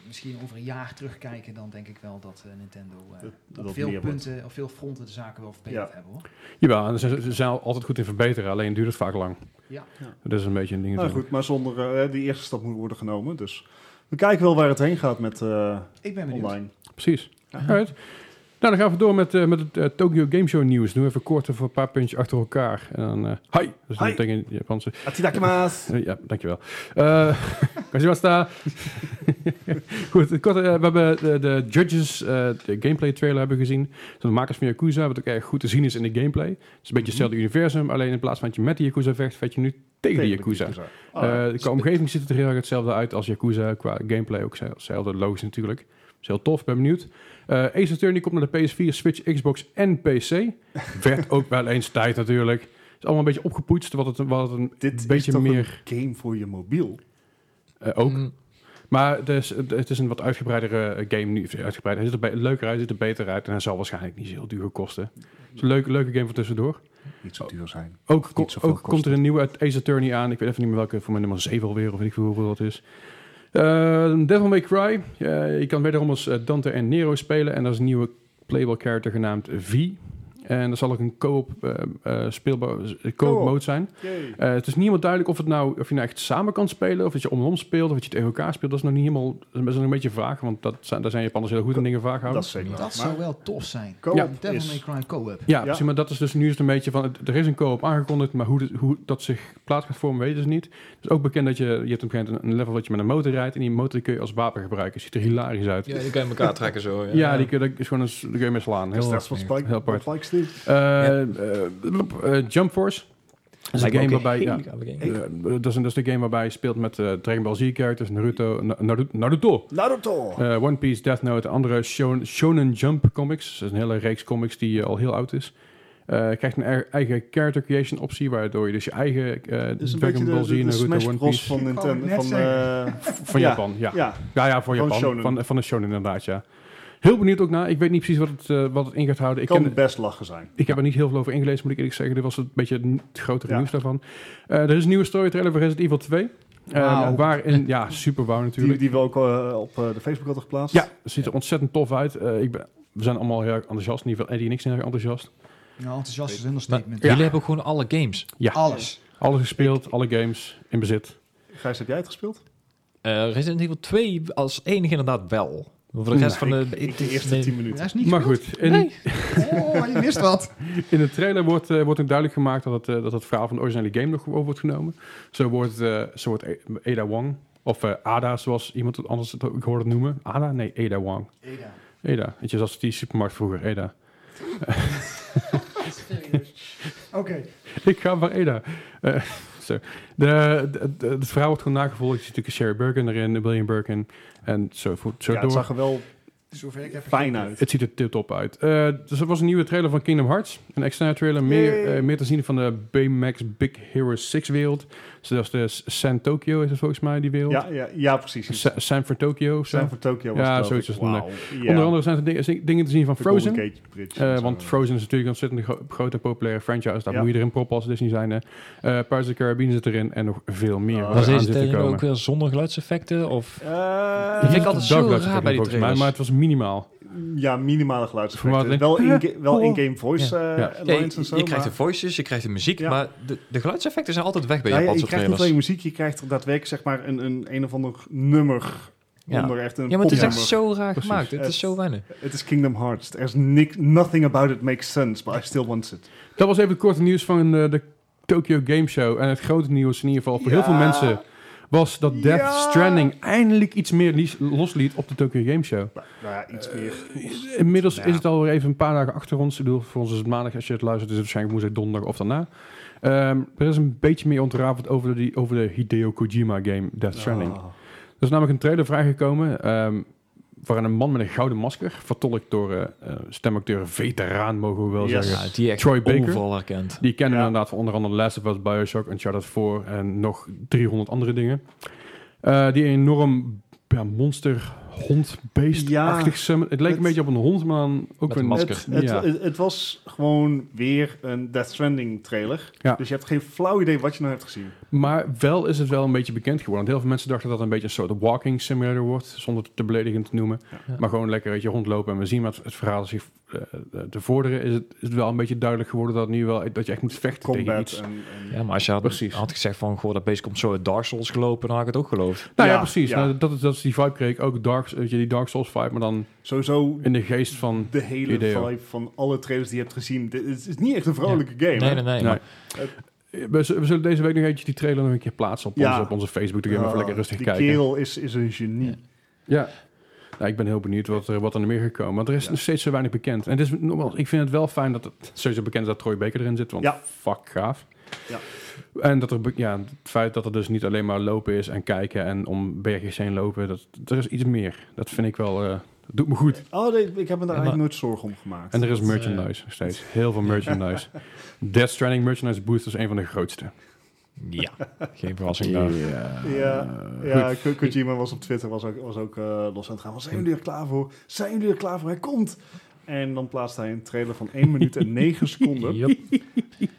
misschien over een jaar terugkijken, dan denk ik wel dat eh, Nintendo eh, Dat- op dat veel meer wordt. punten, op veel fronten de zaken wel verbeterd Ja. hebben, hoor. Jawel, en ze, ze zijn altijd goed in verbeteren, alleen duurt het vaak lang. Ja. Ja. Dat is een beetje een ding. Nou natuurlijk. goed, maar zonder eh, die eerste stap moet worden genomen. Dus we kijken wel waar het heen gaat met eh, Ik ben benieuwd. online. Precies. Ja. Alright. dan gaan we door met, eh, met het eh, Tokyo Game Show nieuws. Doe even kort even een paar puntjes achter elkaar. En dan, eh, hi! Dat is Hi. een ding in het Japanse. Atitakimaas. Eh, Ja, dankjewel. Eh konnichiwa. Goed, het korte, eh, we hebben de, de Judges, eh, de gameplay trailer hebben we gezien. Dat zijn de makers van Yakuza, wat ook erg goed te zien is in de gameplay. Het is een beetje hetzelfde universum, alleen in plaats van dat je met de Yakuza vecht, vecht je nu tegen de Yakuza. Oh, Eh, qua omgeving ziet het er heel erg hetzelfde uit als Yakuza. Qua gameplay ook zelf- hetzelfde, logisch natuurlijk. is heel tof, ben benieuwd. Eh Ace Attorney komt naar de PS4, Switch, Xbox en PC. Werd ook wel eens tijd natuurlijk. is allemaal een beetje opgepoetst, wat het, wat het een dit is beetje toch meer een game voor je mobiel. eh, ook. Mm, Maar het is, het is een wat uitgebreidere eh, game nu. Uitgebreider. Hij ziet er be- leuker uit, ziet er beter uit. En hij zal waarschijnlijk niet zo heel duur kosten. Het is een leuke, leuke game voor tussendoor. Niet Oh. zo duur zijn. Ook, ko- Niet zoveel ook komt kosten. er een nieuwe uit Ace Attorney aan. Ik weet even niet meer welke, voor mijn nummer 7 alweer, of weet ik veel hoeveel dat is. Eh, Devil May Cry. Eh, je kan wederom als eh, Dante en Nero spelen. En dat is een nieuwe playable character genaamd V. En dat zal ook een co-op eh, eh, speelbaar, co-op Co-op. mode zijn. Eh, het is niet helemaal duidelijk of, het nou, of je nou echt samen kan spelen, of dat je om en om speelt, of dat je tegen elkaar speelt. Dat is nog niet helemaal, dat is nog een beetje vraag, want dat zijn, daar zijn Japanners heel goed in dingen vaak houden. Dat is zeker. Dat waar. zou Maar wel tof zijn. co-op Ja. Devil May is... Cry co-op. Ja, precies, maar dat is dus nu is het een beetje van, het- er is een co-op aangekondigd, maar hoe, dit- hoe dat zich plaats gaat vormen weten ze niet. Het is ook bekend dat je, je hebt op een gegeven moment een level dat je met een motor rijdt en die motor kun je als wapen gebruiken. Ziet er hilarisch uit. Ja, Ja, die kan je elkaar trekken zo. Ja, die kun je, dat is gewoon een, s- daar kun je mee slaan. Is Heel dat van heel Spike, apart. Spike Steve? Eh, eh, eh, Jump Force. Dat is een Lijkt me game ook waarbij... ja. hele gave game. Eh, dat, is, dat is de game waarbij je speelt met eh, Dragon Ball Z-characters, Naruto, Na- Naru- Naruto, Naruto! eh, One Piece, Death Note en andere shon- Shonen Jump comics. Dat is een hele reeks comics die eh, al heel oud is. Eh, je krijgt een er- eigen character creation optie, waardoor je dus je eigen eh Dus Dragon een beetje Ball de, Z, de, de Naruto, Smash One Bros Piece... van Wou ik Nintendo. net Van, zeggen. eh, Van ja. Japan, ja. ja, Ja, ja, voor Van Japan. shonen. Van, van de shonen inderdaad, ja. Heel benieuwd ook naar. Ik weet niet precies wat het, eh, wat het in gaat houden. Ik kan ken- best lachen zijn. ik heb er niet heel veel over ingelezen, moet ik eerlijk zeggen. Dit was een beetje het grotere Ja. nieuws daarvan. Eh, er is een nieuwe story trailer voor Resident Evil 2. Eh, Wauw. Waarin, ja, super wauw Die, natuurlijk. die we ook eh, op eh, de Facebook hadden geplaatst. Ja, ziet er ontzettend tof uit. Eh, ik ben, we zijn allemaal heel erg enthousiast. In ieder geval Eddie en ik zijn heel erg enthousiast. Nou, enthousiast is een Maar understatement. Jullie hebben ook gewoon alle games. Alles. Alles gespeeld, alle games in bezit. Gijs, heb jij het gespeeld? Eh Resident Evil 2 als enige inderdaad wel. Voor de rest van de... Nou, Ik de eerste nee. 10 Dat minuten. is niet Maar gespeeld. goed, in, Oh, je mist wat. in de trailer wordt, eh, wordt ook duidelijk gemaakt dat het, eh, dat het verhaal van de originele game nog over wordt genomen. Zo wordt, eh, zo wordt E- Ada Wong, of eh, Ada zoals iemand anders het ook hoorde noemen. Ada? Nee, Ada Wong. Eda. Ada, weet je, zoals die supermarkt vroeger, Ada. Oké. Ik ga voor Eda. Eh, zo. de, de- de- het verhaal wordt gewoon nagevolgd. Je ziet natuurlijk Sherry Birkin erin, William Birkin en zo, voort- zo Ja, het door. zag er wel Zover ik heb fijn uit. Het ziet er tip top uit. Eh, dus er was een nieuwe trailer van Kingdom Hearts. Een externe trailer. Meer, Yay. eh, meer te zien van de BMX Big Hero 6 wereld. Zoals de S- San Tokyo is het volgens mij, die wereld. Ja, ja, ja precies. Sa- San for Tokyo of zo. Zijn voor Tokio was Ja, het, geloof zoiets ik. was het, Wauw. Onder Ja. andere zijn er dingen- dingen te zien van De Golden Frozen. Gate Bridge Eh, en zo. want Frozen is natuurlijk een ontzettend gro- grote populaire franchise. Daar Ja. moet je erin proppen als Disney zijn. eh Pirates of the Caribbean zit erin en nog veel meer. Oh. wat Was eraan deze zit te trailer komen. ook weer zonder geluidseffecten? Of... Eh, Die vind ik altijd zo Dark Lights raar bij die volgens mij, trailers. maar het was minimaal. Ja, minimale Voor geluidseffecten. wat- Wel in- wel in-game voice eh, Ja. Ja, lines je, en zo. je krijgt maar- de voices, je krijgt de muziek, Ja. maar de, de geluidseffecten zijn altijd weg bij Nou ja, je Japanse krijgt niet trailers. alleen muziek, je krijgt er daadwerkelijk zeg maar een, een, een of ander nummer. Ja. Onder echt een ja, maar het is echt popnummer. zo raar Precies. gemaakt. Het Het- is zo weinig. Het is Kingdom Hearts. There's nic- nothing about it makes sense, but I still want it. Dat was even het korte nieuws van eh, de Tokyo Game Show. En het grote nieuws in ieder geval voor heel veel Ja. mensen was dat Death Ja. Stranding eindelijk iets meer lies- losliet op de Tokyo Game Show. Eh, Nou, nou ja, iets meer. Inmiddels Ja. is het alweer even een paar dagen achter ons. Ik bedoel, voor ons is het maandag. Als je het luistert, is het waarschijnlijk woensdag, donderdag of daarna. Ehm, er is een beetje meer ontrafeld over, die, over de Hideo Kojima game Death Stranding. Ah. Er is namelijk een trailer vrijgekomen ehm waarin een man met een gouden masker, vertolkt door eh, eh, stemacteur veteraan, mogen we wel Yes. zeggen. Ja, die echt Troy Baker. overal herkend. Die kennen we Ja. inderdaad van onder andere Last of Us, Bioshock, Uncharted 4 en nog 300 andere dingen. Eh, die enorm ja, monster hond beest achtig summon. Het leek Het- een beetje op een hond, maar dan ook Met weer een niet. masker. Het, het, Ja. het, het was gewoon weer een Death Stranding trailer. Ja. Dus je hebt geen flauw idee wat je nou hebt gezien. Maar wel is het wel een beetje bekend geworden. Want heel veel mensen dachten dat het een beetje een soort walking simulator wordt, zonder het te beledigend te noemen. Ja. Maar gewoon lekker weet je rondlopen en we zien wat het verhaal zich eh, te vorderen. Is het, is het wel een beetje duidelijk geworden dat, het nu wel, dat je echt moet vechten tegen Combat iets. en, en Ja, maar als je had, Precies. had gezegd van, goh, dat beest komt zo uit Dark Souls gelopen, dan had ik het ook geloofd. Nou ja, Ja, precies. ja. Nou, dat, is- dat is die vibe kreeg ik ook. Dark Dark, weet je, die Dark Souls vibe, maar dan Sowieso in de geest van... de hele Ideo. vibe van alle trailers die je hebt gezien. Dit is, is niet echt een vrolijke game. Nee, hè? nee, nee. Nee. maar- We, z- we zullen deze week nog eentje die trailer nog een keer plaatsen op, Ja. onze, op onze Facebook. Dan kun je Ah, even lekker rustig die kijken. kerel is, is een genie. Ja. Ja. Nou, ik ben heel benieuwd wat er, wat er meer gaat komen. Want er is Ja. nog steeds zo weinig bekend. En het is, nogmaals, ik vind het wel fijn dat het sowieso bekend is dat Troy Baker erin zit. Want Ja. fuck, gaaf. Ja. En dat er, be- ja, het feit dat er dus niet alleen maar lopen is en kijken en om bergjes heen lopen. Dat, er is iets meer. Dat vind ik wel... eh, dat doet me goed. Oh, nee, ik heb me daar Ja, maar- eigenlijk nooit zorgen om gemaakt. En er is Dat, eh, merchandise nog steeds. Heel veel merchandise. Death Stranding merchandise boost is een van de grootste. Ja, geen verrassing daar. eh, Ja, ja Ko- Kojima was op Twitter was ook, was ook eh, los aan het gaan. van, Zijn jullie er klaar voor? Zijn jullie er klaar voor? Hij komt! En dan plaatst hij een trailer van 1 minuut en 9 seconden. Yup.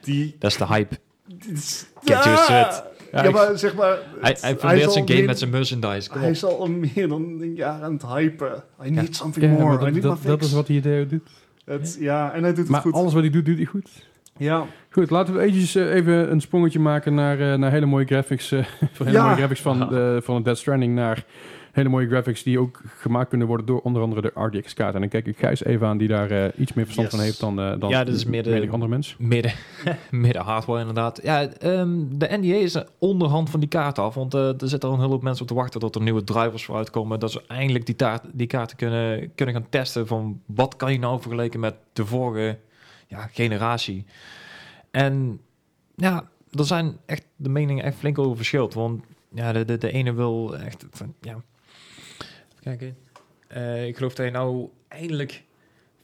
Die... Dat is de hype. die is- Get used to Ja, it. Ah! Ja, maar zeg maar... het- Hij, hij verdeelt zal zijn game meer- met zijn merchandise. Kom Hij op. is al meer dan een jaar aan het hypen. I Ja. need something more. I dat, need my dat, fix. is wat hij doet. Het- ja, en hij doet het Maar goed. alles wat hij doet, doet hij goed. Ja. Goed, laten we eventjes, eh, even een sprongetje maken naar, eh, naar hele mooie graphics. eh, van hele Ja. mooie graphics van, eh, van Dead Stranding naar hele mooie graphics die ook gemaakt kunnen worden door onder andere de RTX-kaart. En dan kijk ik Gijs even aan die daar eh, iets meer verstand Yes. van heeft dan, eh dan Ja, dit is meer de- menig andere mensen. Midden, midden hardware inderdaad. Ja, ehm, de NDA is onderhand van die kaart af, want eh, er zitten al een hele hoop mensen op te wachten dat er nieuwe drivers voor uitkomen, dat ze eindelijk die, taart, die kaarten kunnen, kunnen gaan testen van wat kan je nou vergeleken met de vorige ja, generatie. En ja, er zijn echt de meningen echt flink over verschilt, want ja, de, de, de ene wil echt van, ja, even kijken. Eh, ik geloof dat je nou eindelijk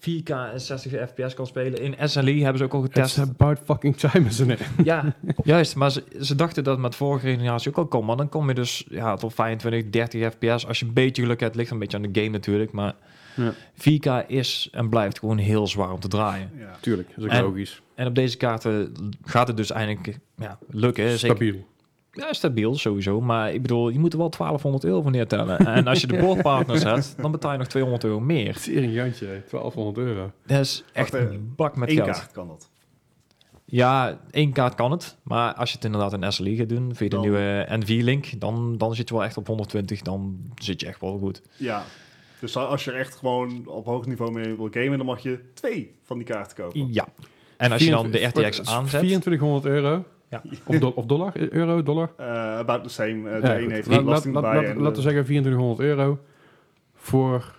4K en 60 fps kan spelen. In SLI hebben ze ook al It's getest. about fucking time, isn't it? Ja, juist. Maar ze, ze dachten dat met vorige generatie ook al kon. Maar dan kom je dus ja, tot 25, 30 fps. Als je een beetje geluk hebt, ligt een beetje aan de game natuurlijk. Maar Ja. 4K is en blijft gewoon heel zwaar om te draaien. ja. Tuurlijk, dat is ook En- logisch. En op deze kaarten gaat het dus eindelijk ja, lukken. Zeker- Stabiel. ja, stabiel sowieso. Maar ik bedoel, je moet er wel 1200 euro voor neertellen. En als je de boordpartners hebt, dan betaal je nog 200 euro meer. Tering jantje, 1200 euro. Dat is echt Wacht, eh, een bak met Eén geld. kaart kan dat. Ja, één kaart kan het. Maar als je het inderdaad in SLI gaat doen, via de Dan- nieuwe NV-link, dan, dan zit je wel echt op 120. Dan zit je echt wel goed. Ja. Dus als je er echt gewoon op hoog niveau mee wil gamen, dan mag je twee van die kaarten kopen. Ja. En als je dan de RTX Wordt aanzet... 2400 euro. Ja. Of, do- of dollar? Euro, dollar? Eh, about the same. Eh, Ja, de een goed. heeft Laat- er laat- belasting laat- bij. laat- dus en eh, Laten we de- zeggen 2400 euro voor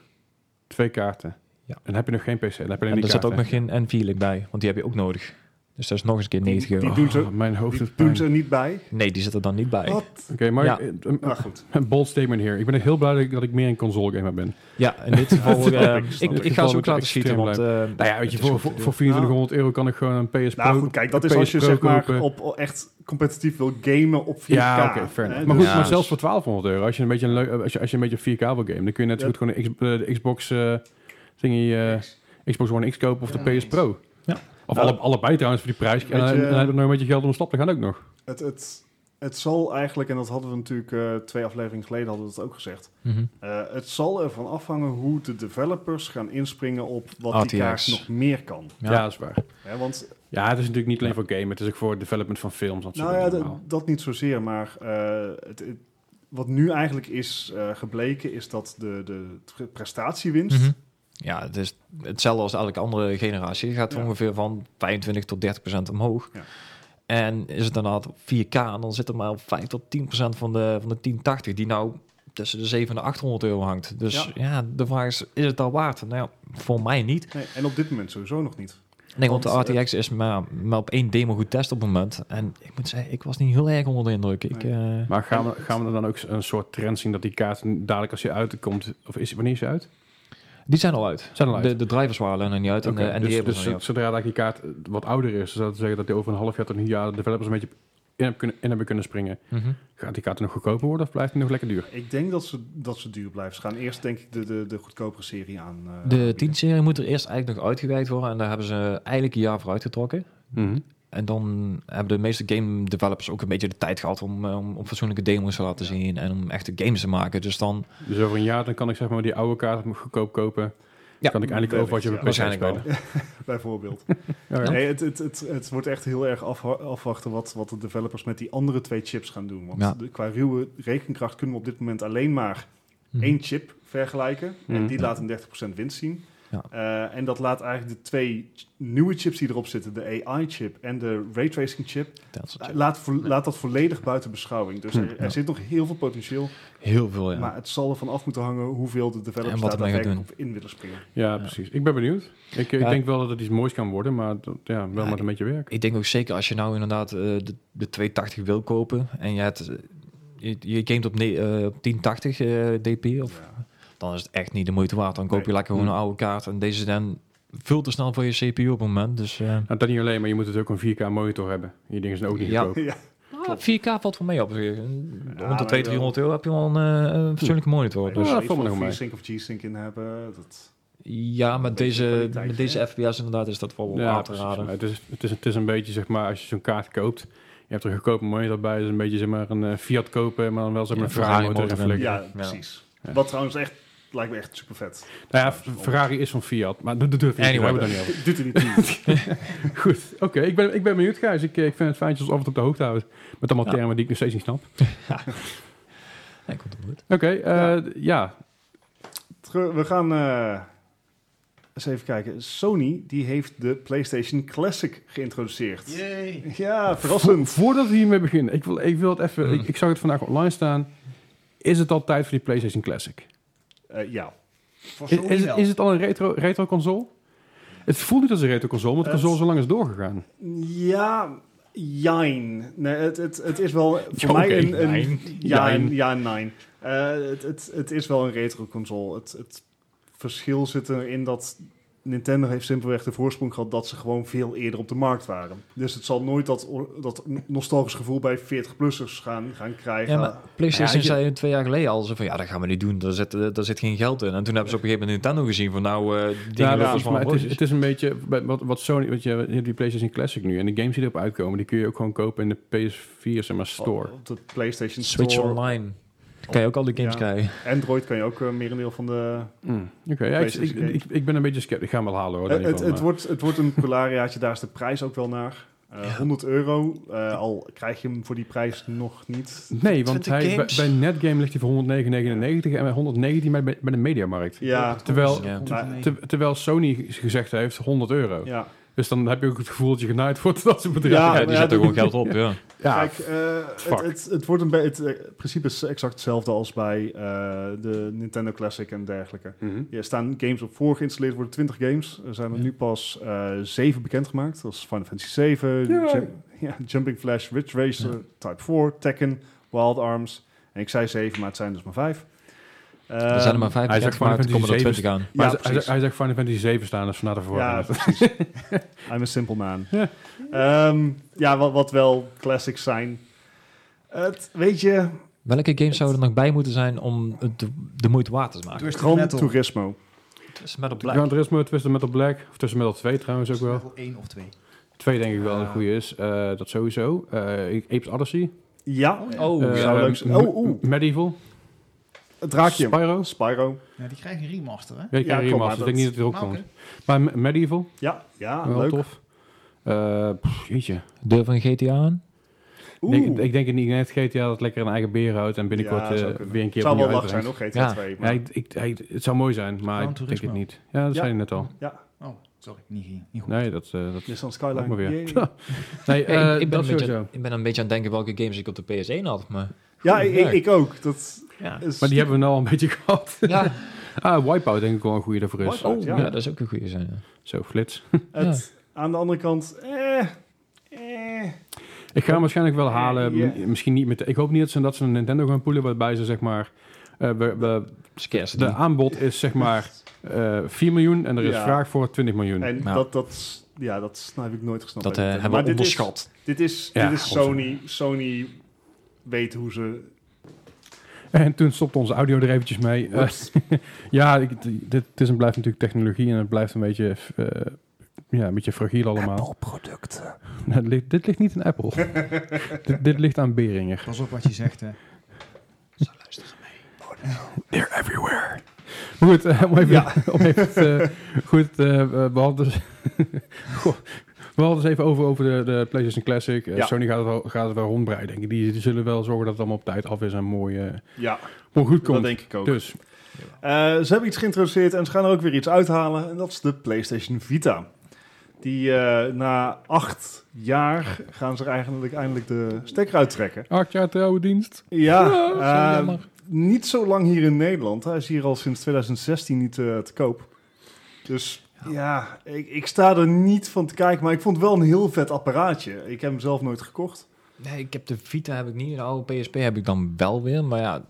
twee kaarten. Ja. En dan heb je nog geen PC. Dan heb je alleen en die er zit ook nog kaarten. geen NV-link bij, want die heb je ook nodig. Dus dat is nog eens een keer 90 Die euro. doen ze, Oh, mijn hoofd die is doen pijn. ze er niet bij. Nee, die zit er dan niet bij. Wat? Oké, maar Ja. eh, een- Maar goed. een bold statement hier. Ik ben echt heel blij dat ik, dat ik meer een console gamer ben. Ja, in dit geval... snap eh, ik, snap ik, ik. ik ga ze ook Geval laten moet je schieten, want... extreem eh, Nou ja, weet je, het is voor, goed voor, te voor doen. 2400 euro kan ik gewoon een PS Pro Nou goed, kijk, dat is PS als je Pro zeg maar kopen. op, op echt competitief wil gamen op 4K. Ja, oké, fair hè, enough. Maar goed, dus- Ja. maar zelfs voor 1200 euro, als je een beetje, een leu- eh, als je, als je een beetje 4K wil gamen, dan kun je net zo Ja. goed gewoon een X- eh, de Xbox, eh thingy, eh, Xbox One X kopen of de Ja, PS Pro. Ja. Of Nou, alle, allebei trouwens voor die prijs. En, weet je, en dan heb je nog een beetje geld om een stap te gaan ook nog. het, het, het zal eigenlijk, en dat hadden we natuurlijk eh, twee afleveringen geleden hadden we dat ook gezegd. Mhm. Eh, het zal ervan afhangen hoe de developers gaan inspringen op wat die RTX. kaart nog meer kan. Ja. Ja. dat is waar. Hè, want Ja, het is natuurlijk niet alleen voor game, het is ook voor het development van films. Dat Nou soort ja, dingen d- allemaal. dat niet zozeer, maar eh, het, het- wat nu eigenlijk is eh, gebleken is dat de, de tre- prestatiewinst, Mhm. Ja, het is hetzelfde als elke andere generatie. Je gaat Ja. ongeveer van 25 tot 30 procent omhoog. Ja. En is het inderdaad 4K, dan zit er maar op 5 tot 10 procent van de, van de 1080, die nou tussen de 700 en 800 euro hangt. Dus Ja. ja, de vraag is, is het al waard? Nou ja, voor mij niet. nee, en op dit moment sowieso nog niet. Nee, want de Want, eh, RTX is maar, maar op één demo goed test op het moment. En ik moet zeggen, ik was niet heel erg onder de indruk. Ik, Nee. eh, Maar gaan we, gaan we dan ook een soort trend zien dat die kaart dadelijk als je uitkomt, of is, wanneer is ze uit? die zijn al uit. Zijn al uit. De, de drivers waren er nog niet uit Oké, en, de, en die dus hebben dus ze nog niet zodra dat die kaart eh, wat ouder is, zou dat zeggen dat die over een half jaar tot een jaar de developers een beetje in hebben kunnen, in hebben kunnen springen. uit. Mhm. Gaat die kaart nog goedkoper worden of blijft die nog lekker duur? Ik denk dat ze, dat ze duur blijven. Ze gaan eerst denk ik de, de, de goedkopere serie aan. eh, De bieden. 10-serie moet er eerst eigenlijk nog uitgewerkt worden. En daar hebben ze eigenlijk een jaar voor uitgetrokken. En dan hebben de meeste game developers ook een beetje de tijd gehad om, eh, om, om fatsoenlijke demos te laten zien. En om echte games te maken. Dus dan Dus over een jaar dan kan ik zeg maar die oude kaart goedkoop kopen. Ja, kan ik eindelijk over wat je op PC waarschijnlijk wel. spelen. Bijvoorbeeld. Ja. Nee, het, het, het, het wordt echt heel erg afha- afwachten wat, wat de developers met die andere twee chips gaan doen. Want Ja. de- qua ruwe rekenkracht kunnen we op dit moment alleen maar Mhm. één chip vergelijken. En Mhm. die laat een 30% winst zien. Ja. Eh, en dat laat eigenlijk de twee ch- nieuwe chips die erop zitten, de AI-chip en de raytracing chip, Dat soort eh, dingen. laat, vo- laat dat volledig buiten beschouwing. Dus er, er Hm. Ja. zit nog heel veel Oh potentieel, Heel veel, ja. maar het zal ervan af moeten hangen hoeveel de developers En daar wat ermee gaan daadwerkelijk op in willen springen. Ja, Ja. precies. Ik ben benieuwd. Ik, ik Ja. denk wel dat het iets moois kan worden, maar dat- ja, wel Ja, met een beetje werk. Ik denk ook zeker als je nou inderdaad eh, de, de 280 wil kopen en je, hebt, eh, je, je gamet op, ne- eh, op 1080 eh, dp, of, Ja. dan is het echt niet de moeite waard. Dan koop je Nee. lekker gewoon Hm. een oude kaart en deze is dan veel te snel voor je CPU op het moment. Dus eh, Nou, dat niet alleen, maar je moet het ook een 4K monitor hebben. Je ding is ook niet Ja. goedkoop. ja. ah, 4K valt wel mee op. Eh, Rond de maar 200, eh, 300 euro heb je wel een eh, een fatsoenlijke monitor. Dus dat Dus. valt ja, me nog mee. sync of G-Sync in hebben. Dat, Ja, met beetje deze, kwaliteit, met deze hè? FPS inderdaad is dat wel Ja, aan te precies. Maar raden. Het is, het, is, het is een beetje, zeg maar, als je zo'n kaart koopt, je hebt er een goedkope monitor bij, dus een beetje, zeg maar, een eh, Fiat kopen, maar dan wel, zeg maar, Ja, een Ferrari Ferrari motor en motor flikken. ja, precies. Wat trouwens echt, lijkt me echt super vet. Nou ja, F- Ferrari is van Fiat, maar dat dat durf ik niet, Anyway. daar hebben we het dan niet Doet er niet toe. over. Goed, oké, ik, ben, ik ben benieuwd, Gijs. Ik, eh, ik vind het fijn als we het op de hoogte houden met allemaal Ja. termen die ik nog steeds niet snap. Ja, komt het goed. Oké, eh, Ja. ja. Teru- We gaan eh, eens even kijken. Sony die heeft de PlayStation Classic geïntroduceerd. Yay. Ja, verrassend. Vo- voordat we hiermee beginnen, ik wil, ik wil het even, Mm. ik, ik zag het vandaag online staan. Is het al tijd voor die PlayStation Classic? Eh, ja. Voor Is, Sony is, wel. is het al een retro, retro console? Het voelt niet als een retro console, maar de Het- console zo lang is doorgegaan. Ja, jijn. Nee, het, het, het is wel voor Ja, mij oké, een... een jijn. Ja, Jijn. een- ja, een nein. Eh, het, het, het is wel een retro console. Het, het verschil zit erin dat Nintendo heeft simpelweg de voorsprong gehad dat ze gewoon veel eerder op de markt waren. Dus het zal nooit dat, or- dat nostalgisch gevoel bij 40-plussers gaan, gaan krijgen. Ja, maar PlayStation Ja, je- zei twee jaar geleden al zo van ja, dat gaan we niet doen. Daar zit, eh, daar zit geen geld in. En toen hebben ze op een gegeven moment Nintendo gezien van nou, eh die Ja, dingen dat lopen is, wel maar het, is, broodjes. het is een beetje bij- wat, wat Sony, wat je, je hebt die PlayStation Classic nu en de games die erop uitkomen, die kun je ook gewoon kopen in de PS4 zeg maar, store. Op de PlayStation Switch Store. Online. Dan kan je ook al die games Ja. krijgen. Android kan je ook eh, merendeel van de... Mm, Oké, ja, ik, ik, Oh. PlayStation ik, ik ben een beetje sceptisch. Ik ga hem wel halen hoor. Oh, daar Eh, niet het, van, het, maar- wordt, het wordt een polariaatje, daar is de prijs ook wel naar. Eh, Ja. 100 euro, eh, al krijg je hem voor die prijs nog niet. Nee, want 20 hij, bij, games. bij Netgame ligt hij voor 109,99 en bij 119 bij, bij de Mediamarkt. Ja, Terwijl, Ja. Komt Maar- ermee. te- terwijl Sony gezegd heeft 100 euro. ja. Dus dan heb je ook het gevoel dat je genaaid wordt dat ze Ja, bedrijven. maar Ja, ja, die- geld op, ja. ja, Kijk, eh, fuck. het, het, het wordt een be- het eh, principe is exact hetzelfde als bij eh, de Nintendo Classic en dergelijke. Mhm. Er staan games op voor geïnstalleerd, worden 20 games. Er zijn er Ja. nu pas eh 7 bekendgemaakt. Dat is Final Fantasy 7, Ja. ja, Jumping Flash, Ridge Racer, Type 4, Tekken, Wild Arms. En ik zei 7, maar het zijn dus maar 5. Er zijn er maar vijf hij bekend zegt gewoon gemaakt, er komen er dat die 20 aan. Maar Ja, hij- hij, precies. hij zegt Final Fantasy 7 staan, dus vanaf de Ja, voorraad. precies. I'm a simple man. Ja. Ja, ja wat, wat wel classics zijn. Het, weet je, Welke games zouden er nog bij moeten zijn om het de, de moeite waard te maken? Twisted Gran Metal. Turismo. Dus met een Ja, Gran Turismo, Twisted Metal Black, of Twisted Metal 2 trouwens ook wel. Level 1 of 2. Twee denk ik wel een Ah. goede is. Eh, dat sowieso. Eh, ik- Apes Odyssey. Ja, Oh, Eh, zou leuk zijn. M- Oh, oeh. Medieval. het draakje. Spyro. Spyro. Ja, die krijgen een remaster, hè? Ja, ik Ja, ja, klopt, maar remaster. Ik denk niet dat het erop Maar komt. oké. Maar M- Medieval, Ja, ja wel Ah, leuk. tof. Eh, pff, jeetje. Deur van GTA aan? Ik Oeh. denk, ik denk in die net GTA dat lekker een eigen beer houdt en binnenkort Ja, zou eh, kunnen. weer een keer zou wel opnieuw lach zijn, uitbrengt. nog GTA Ja. 2. Ja, Maar, ik, ik, ik- het zou mooi zijn, maar Gran ik denk het Turismo. niet. Ja, dat Ja. zei je net al. ja, Oh, sorry. Niet, niet goed. Nee, dat, eh dat Nissan ook Skyline. maar weer. Yay. nee, eh, ik, ben dat een beetje, sowieso. ik ben een beetje aan het denken welke games ik op de PS1 had. Maar, Ja, ik, ik, Ja. ik ook. Dat ja. is Maar die hebben we nou al een beetje gehad. Ja. Ah, Wipeout denk ik wel een goede daarvoor is. Wipeout, Oh, ja. ja. dat is ook een goede zijn. ja. Zo, flits. het, Aan de andere kant, eh, eh. Ik ga hem waarschijnlijk wel halen. Ja. m- Misschien niet met... Ik hoop niet dat ze, dat ze een Nintendo gaan poelen waarbij ze zeg maar... eh, we, we- Scarcity. de aanbod is zeg maar eh 4 miljoen en er is Ja. vraag voor 20 miljoen. En Ja. dat, dat, ja, dat s- nou, heb ik nooit gesnapt. Dat bij eh, Nintendo. hebben we Maar dit is- onderschat. Dit is, Ja, dit is godzijdank. Sony. Sony weet hoe ze... En toen stopte onze audio er eventjes mee. Eh, Oeps. ja, ik, dit, dit is en blijft natuurlijk technologie en het blijft een beetje, eh, ja, een beetje fragiel allemaal. producten. Nou, het ligt- dit ligt niet aan Apple. dit, dit ligt aan Beringer. Pas op wat je zegt, hè. They're everywhere. Maar goed, eh, om even, om even het, eh, goed, eh, we hadden... dus- Goh, we hadden het even over, over de, de PlayStation Classic. Eh, Ja. Sony gaat het wel, gaat het wel rondbreiden, denk ik. Die, die zullen wel zorgen dat het allemaal op tijd af is en mooi, eh, Ja, mooi goed dat komt. denk ik ook. Dus, Eh, ze hebben iets geïntroduceerd en ze gaan er ook weer iets uithalen. En dat is de PlayStation Vita. Die eh, na acht jaar gaan ze er eigenlijk eindelijk de stekker uittrekken. acht jaar trouwe dienst. Ja, zo eh, jammer. niet zo lang hier in Nederland. Hij is hier al sinds 2016 niet eh, te koop. Dus ja, ik, ik sta er niet van te kijken. Maar ik vond het wel een heel vet apparaatje. Ik heb hem zelf nooit gekocht. Nee, ik heb de Vita heb ik niet. De oude PSP heb ik dan wel weer. Maar ja,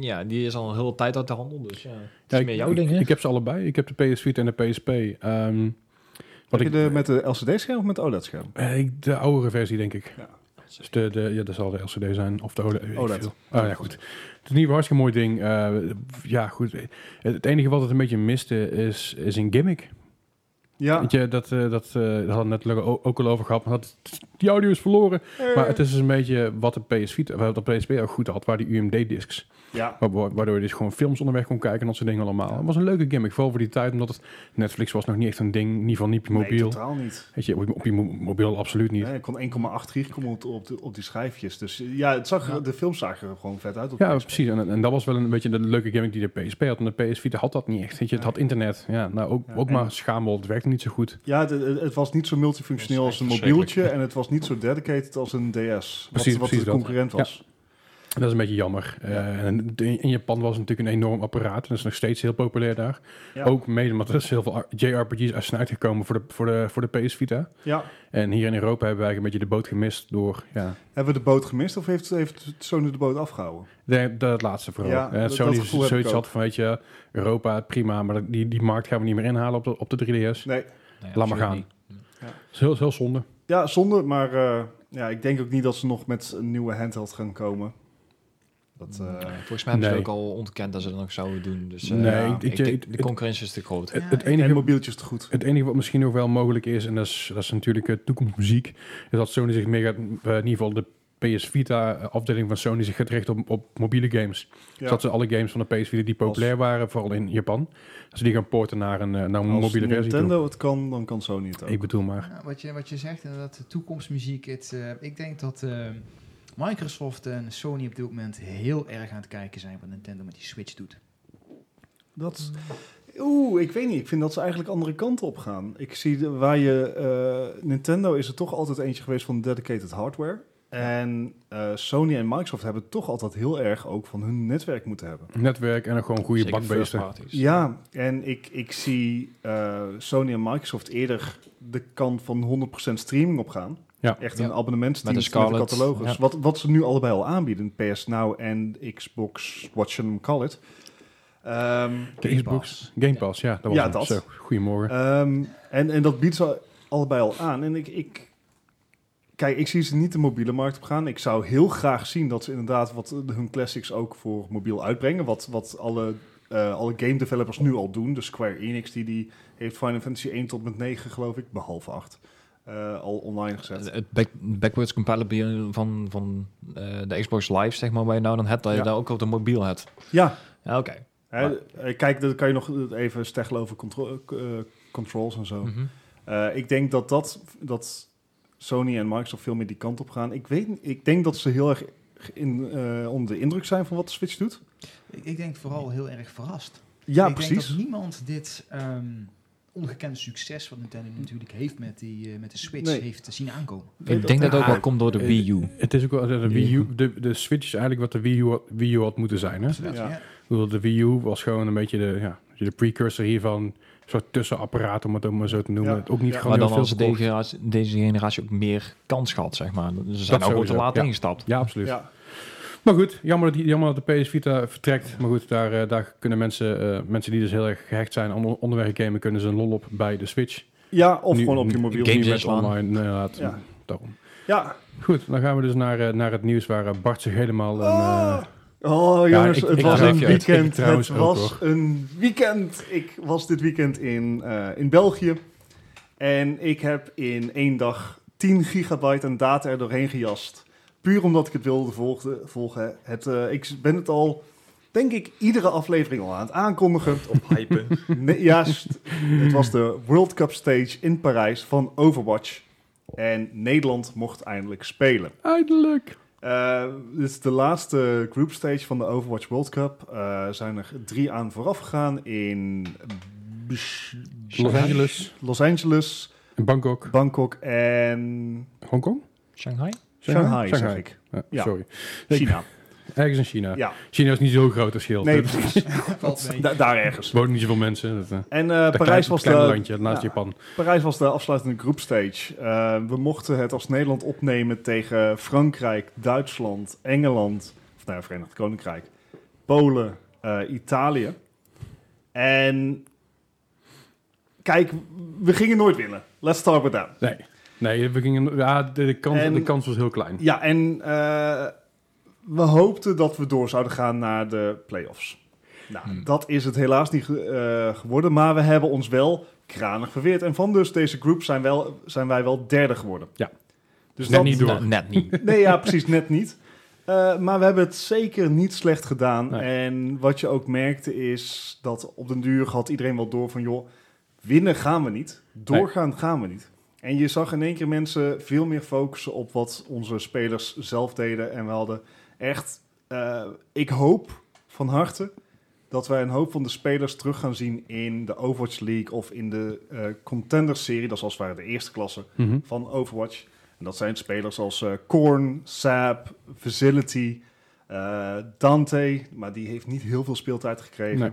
ja die is al een hele tijd uit de handel. Dus ja, het is Ja, meer ik- jouw ding, hè? Ik heb ze allebei. Ik heb de PS Vita en de PSP. Ehm, Heb wat je ik, de, met de E LCD-scherm of met OLED-scherm? eh, ik- de oudere versie, denk ik. Ja. Dus de, de, ja, dat zal de LCD zijn. Of de OLED. weet ik OLED. veel. Oh, ja, goed. Het is een nieuw hartstikke mooi ding. Eh, ja, goed. Het, het enige wat het een beetje miste is, is een gimmick. Ja, Weet je, dat, eh, dat, eh, daar hadden we net Lugge o- ook al over gehad. Maar dat, die audio is verloren. Maar het is dus een beetje wat de PS Vita, wat de PSP ook goed had, waar die UMD-discs. ja. Waardoor je dus gewoon films onderweg kon kijken en dat soort dingen allemaal. Het was een leuke gimmick, vooral voor die tijd, omdat het, Netflix was nog niet echt een ding. In ieder geval niet op je Nee, mobiel. totaal niet. Weet je, op je- op je mo- mobiel absoluut niet. Nee, ik kon 1,8 gig komen op, op, de- op die schijfjes. Dus eh, ja, het zag, er- de film zag er gewoon vet uit. Op Ja, PSP. precies. En, en dat was wel een beetje de leuke gimmick die de PSP had. En de PS Vita had dat niet echt. Weet je, het had internet. Ja, nou, ook, Ja, ook en- maar schaamwol. Het werkte niet zo goed. Ja, het, het- het was niet zo multifunctioneel Dat als is een echt mobieltje. En het was niet zo dedicated als een DS. Precies, wat, Precies, wat precies de dat. concurrent was. En Dat is een beetje jammer. Eh, en de- in Japan was het natuurlijk een enorm apparaat. En dat is nog steeds heel populair daar. Ja. Ook mede omdat er dus heel veel R- JRPG's uit zijn uitgekomen voor de, voor, de, voor de PS Vita. Ja. En hier in Europa hebben we eigenlijk een beetje de boot gemist door... Ja, Hebben we de boot gemist of heeft, heeft Sony de boot afgehouden? de, de- het laatste vooral. Ja, Eh, dat- dat Sony gevoel heb zoiets ik ook. had van, weet je, Europa, prima. Maar dat- die, die markt gaan we niet meer inhalen op de, op de 3DS. Nee. Nee, Laat maar absoluut gaan. niet. Dat is heel, heel zonde. Ja, zonde. Maar eh, ja, ik denk ook niet dat ze nog met een nieuwe handheld gaan komen. Dat, eh, Volgens mij hebben Nee. ze ook al ontkend dat ze dat nog zouden doen. Dus eh, nee, ja, ik- ik ik- denk, het- de concurrentie is te groot. het- Ja, het ik- enige en mobieltjes te goed. Het enige wat misschien nog wel mogelijk is, en dat is, dat is natuurlijk eh, toekomstmuziek, is dat Sony zich meer gaat, eh, in ieder geval de PS Vita eh, afdeling van Sony zich gaat richten op, op mobiele games. Ja. Dus dat ze alle games van de PS Vita die populair waren, vooral in Japan, dat ze die gaan porten naar een, eh, naar een Als mobiele versie. Nintendo het kan, dan kan Sony het toe. ook. Ik bedoel maar. Ja, Nou, wat, je, wat je zegt, inderdaad, de toekomstmuziek. Het, eh, ik denk dat eh, Microsoft en Sony op dit moment heel erg aan het kijken zijn wat Nintendo met die Switch doet. Dat is- Oeh, ik weet niet. Ik vind dat ze eigenlijk andere kanten op gaan. Ik zie de- waar je... eh, Nintendo is er toch altijd eentje geweest van dedicated hardware. En eh, Sony en Microsoft hebben toch altijd heel erg ook van hun netwerk moeten hebben. Netwerk en dan gewoon goede Zeker first bakbeesten. parties. Ja, en ik, ik zie eh, Sony en Microsoft eerder de kant van 100% streaming opgaan. Ja. Echt Ja. een abonnementsdienst Met met de de, Scarlett, catalogus. ja. Wat, wat ze nu allebei al aanbieden, PS Now en Xbox, what should I call it. Ehm, De Xbox Game Pass, ja, dat was Ja, hem. dat. Zo, goedemorgen. Ehm, en, en dat biedt ze allebei al aan. En ik, ik, kijk, ik zie ze niet de mobiele markt op gaan. Ik zou heel graag zien dat ze inderdaad wat eh, hun classics ook voor mobiel uitbrengen. Wat, wat alle, eh, alle game developers nu al doen. Dus Square Enix die, die heeft Final Fantasy 1 tot met 9 geloof ik, behalve 8, eh, al online gezet. Het back- backwards compatibility van, van eh, de Xbox Live, zeg maar, waar je nou dan hebt, dat je Ja. daar ook op de mobiel hebt. Ja, Ja, Oké. hè, eh, kijk, dan kan je nog even steggelen over contro- eh, controls en zo. Mhm. Eh, ik denk dat, dat, dat Sony en Microsoft veel meer die kant op gaan. Ik, weet, niet- ik denk dat ze heel erg in, eh, onder de indruk zijn van wat de Switch doet. Ik, ik denk vooral heel erg verrast. Ja, ik denk precies. dat niemand dit ehm ongekende succes wat Nintendo natuurlijk heeft met, die, eh, met de Switch Nee. heeft zien aankomen. Ik denk dat het ook wel Ah, komt door de Wii U. Het is ook wel de Wii U, de, de Switch is eigenlijk wat de Wii U, had- Wii U had moeten zijn. Hè? Ja. Ja. Ik bedoel, de Wii U was gewoon een beetje de, ja, de precursor hiervan. Een soort tussenapparaat, om het ook maar zo te noemen. Ja. Het Ook niet Ja. gewoon Maar heel dan veel als deze verkocht. generatie, deze generatie ook meer kans gehad, zeg maar. Ze zijn ook wel te sowieso, laat ja. ingestapt. Ja, absoluut. Ja. Maar goed, jammer dat, die- jammer dat de PS Vita vertrekt. Maar goed, daar, eh, daar kunnen mensen, eh, mensen die dus heel erg gehecht zijn aan on- onderweg gamen, kunnen ze een lol op bij de Switch. ja, of Nu- gewoon op je mobiel. Games Niet met inslaan. online, nee, laat- Ja. daarom. Ja. Goed, dan gaan we dus naar, eh, naar het nieuws waar eh, Bart zich helemaal... Een, eh, Oh Ja, jongens, ik- het ik was raak een je uit. Ik weekend. trouwens Het ook, was een weekend. Ik was dit weekend in, eh, in België. En ik heb in één dag 10 gigabyte aan data er doorheen gejast. Puur omdat ik het wilde volgde- volgen. Het, eh, ik ben het al, denk ik, iedere aflevering al aan het aankondigen. Op hypen. Nee, juist. Het was de World Cup stage in Parijs van Overwatch. En Nederland mocht eindelijk spelen. Eindelijk. Eh, dit is de laatste group stage van de Overwatch World Cup. Eh zijn er drie aan vooraf gegaan in Los Angeles, Los Angeles, Bangkok, Bangkok en Hongkong? Shanghai? Shanghai, zeg Shanghai. ik. Ja, Ja. Sorry. China. Ergens in China. Ja. China is niet zo groot als Schild. Nee, er precies. Valt mee. Da- daar ergens. wonen niet zoveel mensen. Dat, eh, En eh, dat Parijs, klein- was kleine de, landje naast ja. Japan. Parijs was de afsluitende groepstage. Eh, we mochten het als Nederland opnemen tegen Frankrijk, Duitsland, Engeland, of nou ja, Verenigd Koninkrijk, Polen, eh, Italië. En kijk, we gingen nooit winnen. Let's start with that. Nee. Nee, we gingen, ja, de, de kans, En- de kans was heel klein. Ja, en eh, we hoopten dat we door zouden gaan naar de play-offs. Nou, Hmm. dat is het helaas niet ge- eh, geworden, maar we hebben ons wel kranig verweerd. En van dus deze groep zijn, wel, zijn wij wel derde geworden. Ja. Dus Net dat, niet door. Nou, net niet. Nee, ja, precies, net niet. Eh, maar we hebben het zeker niet slecht gedaan. Nee. En wat je ook merkte is dat op den duur had iedereen wel door van... joh, winnen gaan we niet, doorgaan gaan we niet. En je zag in één keer mensen veel meer focussen op wat onze spelers zelf deden. En we hadden echt... eh, ik hoop van harte dat wij een hoop van de spelers terug gaan zien in de Overwatch League... of in de eh Contenders-serie, dat is als het ware de eerste klasse Mhm. van Overwatch. En dat zijn spelers als eh Korn, Saap, Facility, eh, Dante, maar die heeft niet heel veel speeltijd gekregen. Nee.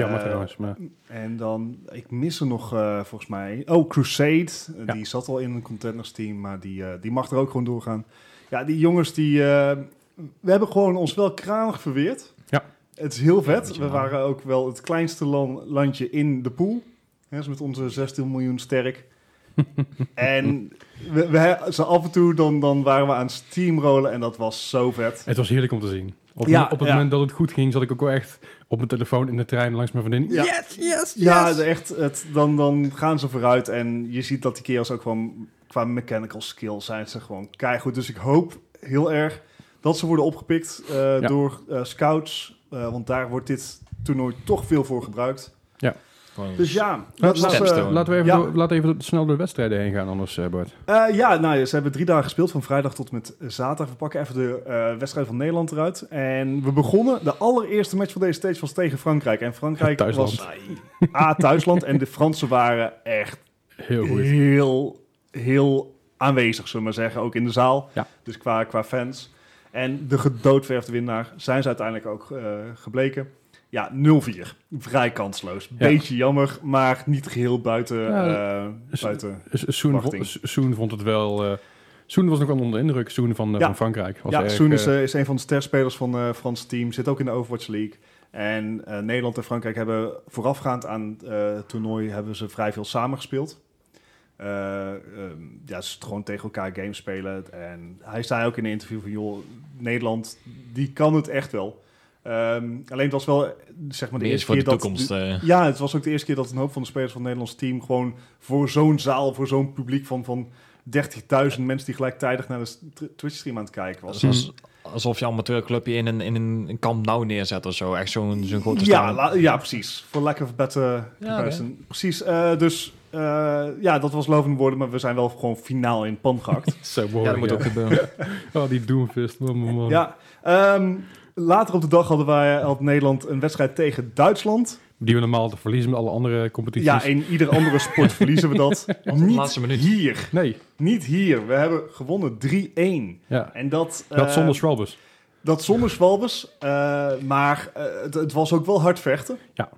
Jammer Eh, trouwens, maar En dan, ik mis er nog eh, volgens mij, oh Crusade, Eh, Ja. die zat al in een contenders team, maar die, eh, die mag er ook gewoon doorgaan. Ja, die jongens die, eh, we hebben gewoon ons wel kranig verweerd. Ja. Het is heel Ja, vet. moet je We nagaan. waren ook wel het kleinste lan- landje in de pool. Hè, dus met onze 16 miljoen sterk. en we, we, zo af en toe dan, dan waren we aan het steamrollen en dat was zo vet. het was heerlijk om te zien. Op, Ja, op het ja. moment dat het goed ging, zat ik ook wel echt op mijn telefoon in de trein langs mijn vriendin. Ja. Yes, yes, Ja, yes! de- echt. Het, dan, dan gaan ze vooruit. En je ziet dat die kerels ook gewoon qua mechanical skill zijn ze gewoon keigoed. Dus ik hoop heel erg dat ze worden opgepikt eh, door eh, scouts. eh, want daar wordt dit toernooi toch veel voor gebruikt. Gewoon- Dus ja, Laat- laten we- Stepstone. Eh, Laten we even, Ja. door- laten we even snel door de wedstrijden heen gaan, anders eh, Bart. Eh, ja, nou, ja, ze hebben drie dagen gespeeld, van vrijdag tot met zaterdag. We pakken even de eh, wedstrijd van Nederland eruit. En we begonnen, de allereerste match van deze stage was tegen Frankrijk. En Frankrijk Ja, thuisland. was A, thuisland. en de Fransen waren echt Heel goed. heel, heel aanwezig, zullen we maar zeggen. Ook in de zaal, Ja. dus qua, qua fans. En de gedoodverfde winnaar zijn ze uiteindelijk ook eh, gebleken. Ja, 0-4. Vrij kansloos. Beetje jammer, maar niet geheel buiten... Ja, eh, is- buiten. Soen Wachting. vond, Soen vond het wel... eh Soen was nog wel onder de indruk, Soen van, eh, Ja. van Frankrijk. Was Ja, erg, Soen is, eh, eh, is een van de sterspelers van eh Frans team. Zit ook in de Overwatch League. En eh, Nederland en Frankrijk hebben voorafgaand aan eh, het toernooi hebben ze vrij veel samengespeeld. Eh ehm, ja, ze gewoon tegen elkaar games spelen. En hij zei ook in een interview van, joh, Nederland, die kan het echt wel. Ehm, alleen het was wel, eh, zeg maar, de Meer eerste voor de keer dat... toekomst. eh. Ja, het was ook de eerste keer dat een hoop van de spelers van het Nederlands team gewoon voor zo'n zaal, voor zo'n publiek van, van 30.000 mensen die gelijktijdig naar de st- Twitch-stream aan het kijken was. Dat is als- alsof je amateurclubje in een, in een kamp nou neerzet of zo. Echt zo'n zo'n grote Ja, stadion. la- ja, precies. Voor lack of a better comparison. Precies, eh, dus eh, ja, dat was lovende woorden, maar we zijn wel gewoon finaal in pan gehakt. Zo Ja, dat behoorlijk, moet ja. ook gebeuren. Oh, die Doomfist. Man, man, man. ja, ehm, later op de dag hadden wij, had Nederland een wedstrijd tegen Duitsland. Die we normaal te verliezen met alle andere competities. Ja, in ieder andere sport verliezen we dat. Niet laatste minuut. hier, Nee, niet hier. We hebben gewonnen 3-1. ja. En dat, eh, Dat zonder Schwalbus. Dat zonder Zwalbes. eh, maar eh, het, het was ook wel hard vechten. Ja.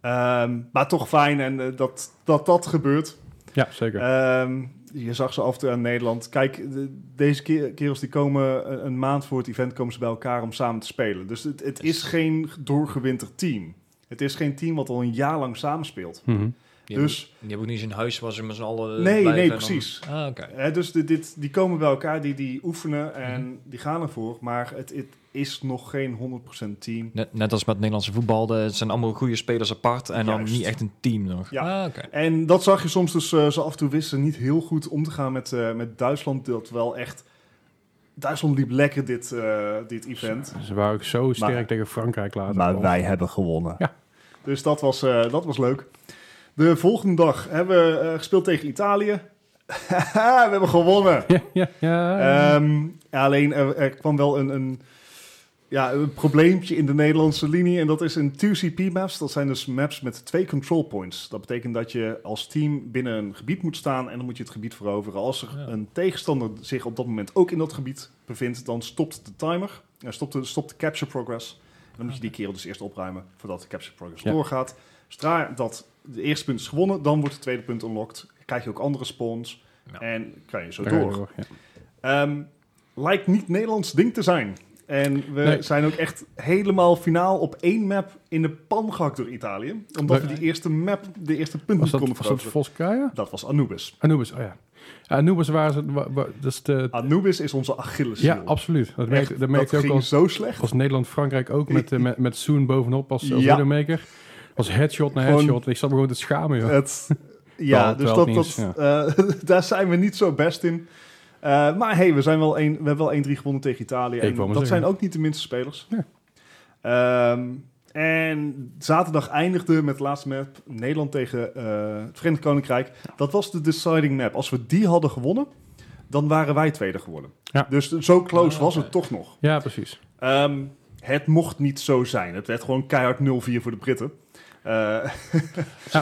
Ehm, maar toch fijn en eh, dat, dat dat gebeurt. Ja, zeker. Ehm, je zag ze af en toe aan Nederland. Kijk, de- deze ke- kerels die komen eh, een, een maand voor het event komen ze bij elkaar om samen te spelen. Dus het, het is geen doorgewinterd team. Het is geen team wat al een jaar lang samenspeelt. Mhm. Die hebben- Dus die hebben ook niet zo'n huis waar ze met z'n allen Nee, eh, blijven nee, en dan- precies. Ah, oké. Hè, dus dit, dit- die komen bij elkaar, die, die oefenen en Mhm. die gaan ervoor. Maar het, het is nog geen 100% team. Net, net als met het Nederlandse voetbal, de- het zijn allemaal goede spelers apart en dan Juist. niet echt een team nog. Ja. Ah, oké. En dat zag je soms dus, eh, ze af en toe wisten niet heel goed om te gaan met, eh, met Duitsland. Dat wel echt... Duitsland liep lekker dit, eh, dit event. Dus Ze waren ook zo sterk Maar- tegen Frankrijk later. Maar Oh. wij hebben gewonnen. Ja. Dus dat was, eh, dat was leuk. De volgende dag hebben we eh, gespeeld tegen Italië. Haha, we hebben gewonnen. Ja, ja, ja. Ehm, ja, alleen er, er kwam wel een, een, ja, een probleempje in de Nederlandse linie. En dat is in 2CP maps. Dat zijn dus maps met twee control points. Dat betekent dat je als team binnen een gebied moet staan. En dan moet je het gebied veroveren. Als er Ja. een tegenstander zich op dat moment ook in dat gebied bevindt. Dan stopt de timer. eh, stopt, de, stopt de capture progress. En dan moet je die kerel dus eerst opruimen. Voordat de capture progress Ja. doorgaat. Zodra dat de eerste punt is gewonnen. Dan wordt het tweede punt unlocked. Krijg je ook andere spawns. Ja. En kan je zo Daar ga je door. ja. Ehm, lijkt niet Nederlands ding te zijn. En we Nee. zijn ook echt helemaal finaal op één map in de pan gehakt door Italië. Omdat we Nee. die eerste map, de eerste punt Was niet dat, konden was dat veroveren. Volskaya? Dat was Anubis. Anubis, oh ja. Anubis waren ze... wa- wa- dat is de, Anubis is onze Achilles. ja, absoluut. Dat merkte dat merkte je ook ging als, zo slecht. als Nederland-Frankrijk ook met, eh, met, met Soen bovenop als, als Ja. widowmaker. Als headshot naar Gewoon- Eh, headshot. Ik zat me gewoon te schamen, joh. Het, Wel, ja, dus terwijl dat, het dat, niet is, eh, daar zijn we niet zo best in. Eh, maar hey, we, zijn wel één, we hebben wel 1-3 gewonnen tegen Italië. Ik En wou maar dat zeggen. zijn ook niet de minste spelers. Ja. Ehm, en zaterdag eindigde met de laatste map Nederland tegen eh, het Verenigd Koninkrijk. Dat was de deciding map. Als we die hadden gewonnen, dan waren wij tweede geworden. Ja. Dus zo close Ah, was het oké. toch nog. Ja, precies. Ehm, het mocht niet zo zijn. Het werd gewoon keihard 0-4 voor de Britten. Eh,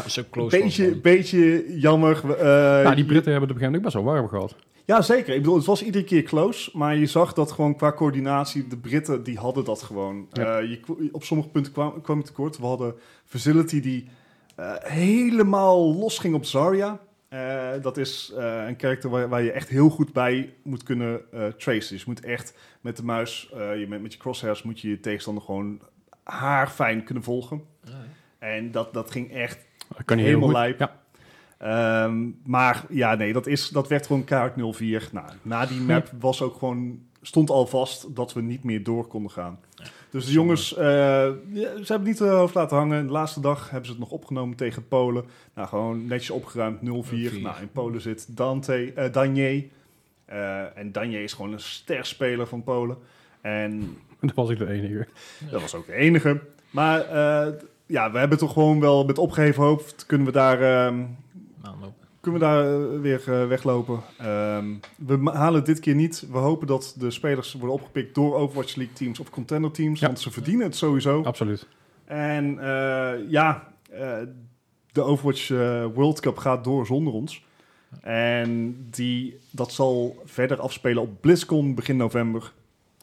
Dus Zo close beetje, was beetje jammer. eh, nou, die Britten hebben het op een gegeven moment ook best wel warm gehad. Ja, zeker. Ik bedoel, het was iedere keer close, maar je zag dat gewoon qua coördinatie, de Britten, die hadden dat gewoon. Ja. Eh, je, kw- op sommige punten kwam, kwam je tekort. We hadden Facility die eh, helemaal los ging op Zarya. Eh, dat is eh, een karakter waar, waar je echt heel goed bij moet kunnen eh tracen. Dus je moet echt met de muis, eh, je, met, met je crosshairs, moet je je tegenstander gewoon haarfijn kunnen volgen. Ah, dan. Ja, ja. En dat, dat ging echt Dat kan niet Helemaal heel goed. lijp. Ja. Ehm, maar ja, nee, dat, is, dat werd gewoon kaart 04. Nou, na die map was ook gewoon, stond al vast dat we niet meer door konden gaan. Dus de jongens, eh, ja, ze hebben niet de hoofd laten hangen. De laatste dag hebben ze het nog opgenomen tegen Polen. Nou, gewoon netjes opgeruimd 0-4. 0-4. Nou, in Polen zit Dante, eh Danier. Eh, en Danier is gewoon een sterspeler van Polen. En Dat was ik de enige. dat was ook de enige. Maar eh, ja, we hebben toch gewoon wel met opgeheven hoofd kunnen we daar... ehm, Nou, nou. kunnen we daar eh, weer eh, weglopen. Ehm, we ma- halen het dit keer niet. We hopen dat de spelers worden opgepikt door Overwatch League teams of contender teams. Ja. Want ze verdienen het sowieso. Absoluut. En eh, ja, eh, de Overwatch eh, World Cup gaat door zonder ons. En die, dat zal verder afspelen op BlizzCon begin november.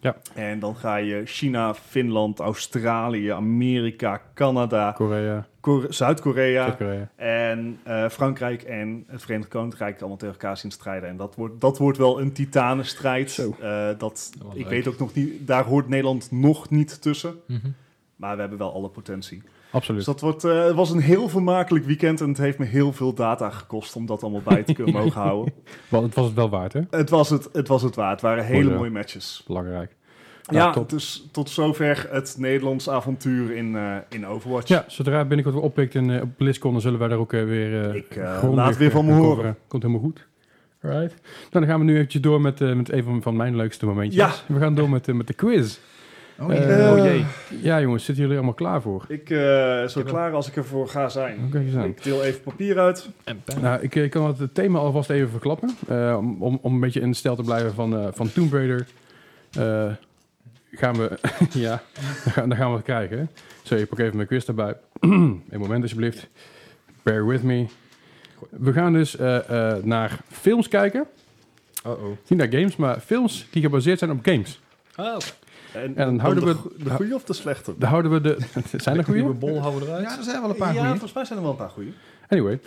Ja. En dan ga je China, Finland, Australië, Amerika, Canada, Korea, Kore- Zuid-Korea. Zuid-Korea. En eh, Frankrijk en het Verenigd Koninkrijk allemaal tegen elkaar zien strijden. En dat wordt, dat wordt wel een titanenstrijd. Zo. Eh, dat, Wel ik leuk. weet ook nog niet, daar hoort Nederland nog niet tussen. Mhm. Maar we hebben wel alle potentie. Dus Absoluut. dat wordt, eh, het was een heel vermakelijk weekend. En het heeft me heel veel data gekost om dat allemaal bij te kunnen mogen houden. Want het was het wel waard, hè? Het was het, het was het waard. Het waren hele Mooi zo. mooie matches. Belangrijk. Nou, Ja, top. dus tot zover het Nederlands avontuur in, eh, in Overwatch. Ja, zodra het binnenkort weer oppikt en eh, op BlizzCon, dan zullen wij daar ook eh, weer... eh, Ik, eh, grondig, laat weer eh, van me coveren. horen. Komt helemaal goed. Right. Nou, dan gaan we nu eventjes door met, eh, met een van, van mijn leukste momentjes. We gaan door met, eh, met de quiz. Oh, Eh, Eh, Oh jee. Ja, jongens, zitten jullie allemaal klaar voor? Ik eh zo klaar als ik ervoor ga zijn. Oké, eens aan. Ik deel even papier uit. En pen. Nou, ik, eh, kan het het thema alvast even verklappen. Eh, om, om, om een beetje in het stijl te blijven van, eh, van Tomb Raider. eh, gaan we... ja, dan gaan, dan gaan we het krijgen. hè. Zo, ik pak even mijn quiz erbij. Een moment alsjeblieft. Bear with me. We gaan dus eh, eh, naar films kijken. Uh-oh. Niet naar games, maar films die gebaseerd zijn op games. Oh. En, dan houden de, we- go- de goede of de slechte? Daar houden we de... zijn er goede? Nieuwe bol houden we Ja, eruit. er zijn wel een paar ja, goeie. volgens mij zijn er wel een paar goede. Anyway,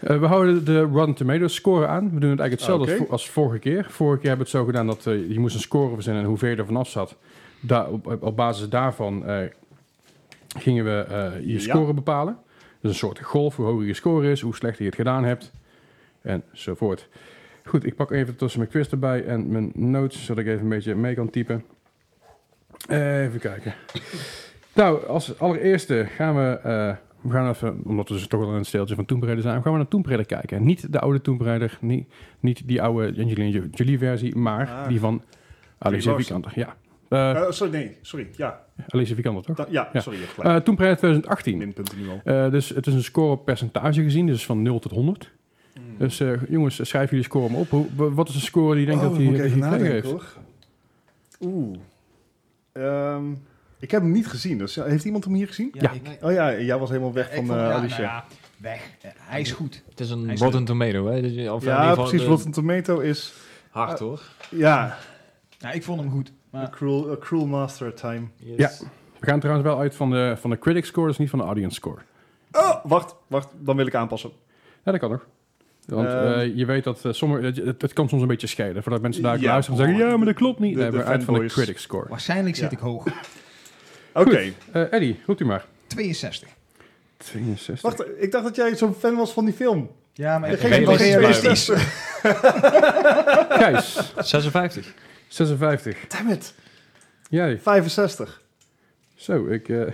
Eh, we houden de Rotten Tomatoes score aan. We doen het eigenlijk hetzelfde als, Ah, Oké. vo- als vorige keer. Vorige keer hebben we het zo gedaan dat eh, je moest een score verzinnen en hoe ver je er vanaf zat. Daar, op, op basis daarvan eh, gingen we eh, je Ja. score bepalen. Dus een soort golf, hoe hoger je score is, hoe slechter je het gedaan hebt. Enzovoort. Goed, ik pak even tussen mijn quiz erbij en mijn notes, zodat ik even een beetje mee kan typen. Eh, even kijken. Nou, als allereerste gaan we, eh, we gaan even, omdat we dus toch wel in het steeltje van Tomb Raider zijn, gaan we naar Tomb Raider kijken. Niet de oude Tomb Raider, niet, niet die oude Angelina Jolie versie, maar Ah. die van Alicia Bars. Vikander. Ja, Eh Eh, sorry, nee, sorry. Ja, Alicia Vikander toch? da- ja, Ja. sorry, je hebt gelijk. Eh Tomb Raider 2018. Minpunten nu al. Hmm. Eh, dus het is een score op percentage gezien, dus van 0 tot 100. Dus eh, jongens, schrijf jullie score maar op. Hoe- wa- wat is de score die je denkt Oh, dat dan hij moet ik dat hij even gekregen nadenken heeft? hoor. Oeh. Ehm, ik heb hem niet gezien. Dus, heeft iemand hem hier gezien? Ja. ik- Oh ja, jij was helemaal weg ik van vond- eh ja, Alicia. nou ja, weg. Eh, hij is goed. Het is een Hij is Rotten Tomato, hè? Dus, je- of in ja, ieder geval precies. de- Rotten Tomato is... Hard, hoor. Ja, Nou, ik vond hem goed. a Maar cruel, a cruel master at time. Ja. We gaan trouwens wel uit van de, van de critic score, dus niet van de audience score. Oh, wacht, wacht. Dan wil ik aanpassen. Ja, dat kan nog. Want Ehm. eh, je weet dat eh, sommige, het, het- het kan soms een beetje schelen. Voordat mensen daar Ja. luisteren en zeggen, ja, maar dat klopt niet. De- nee, de maar uit van de fanboys. critic score. waarschijnlijk Ja. zit ik hoog. Oké. Eh Eddie, roept u maar. 62. 62. Wacht, ik dacht dat jij zo'n fan was van die film. Ja, maar Degene ben ik van realistisch. realistisch. Gijs, 56. 56. Damn it. Jij. 65. Zo, ik... eh,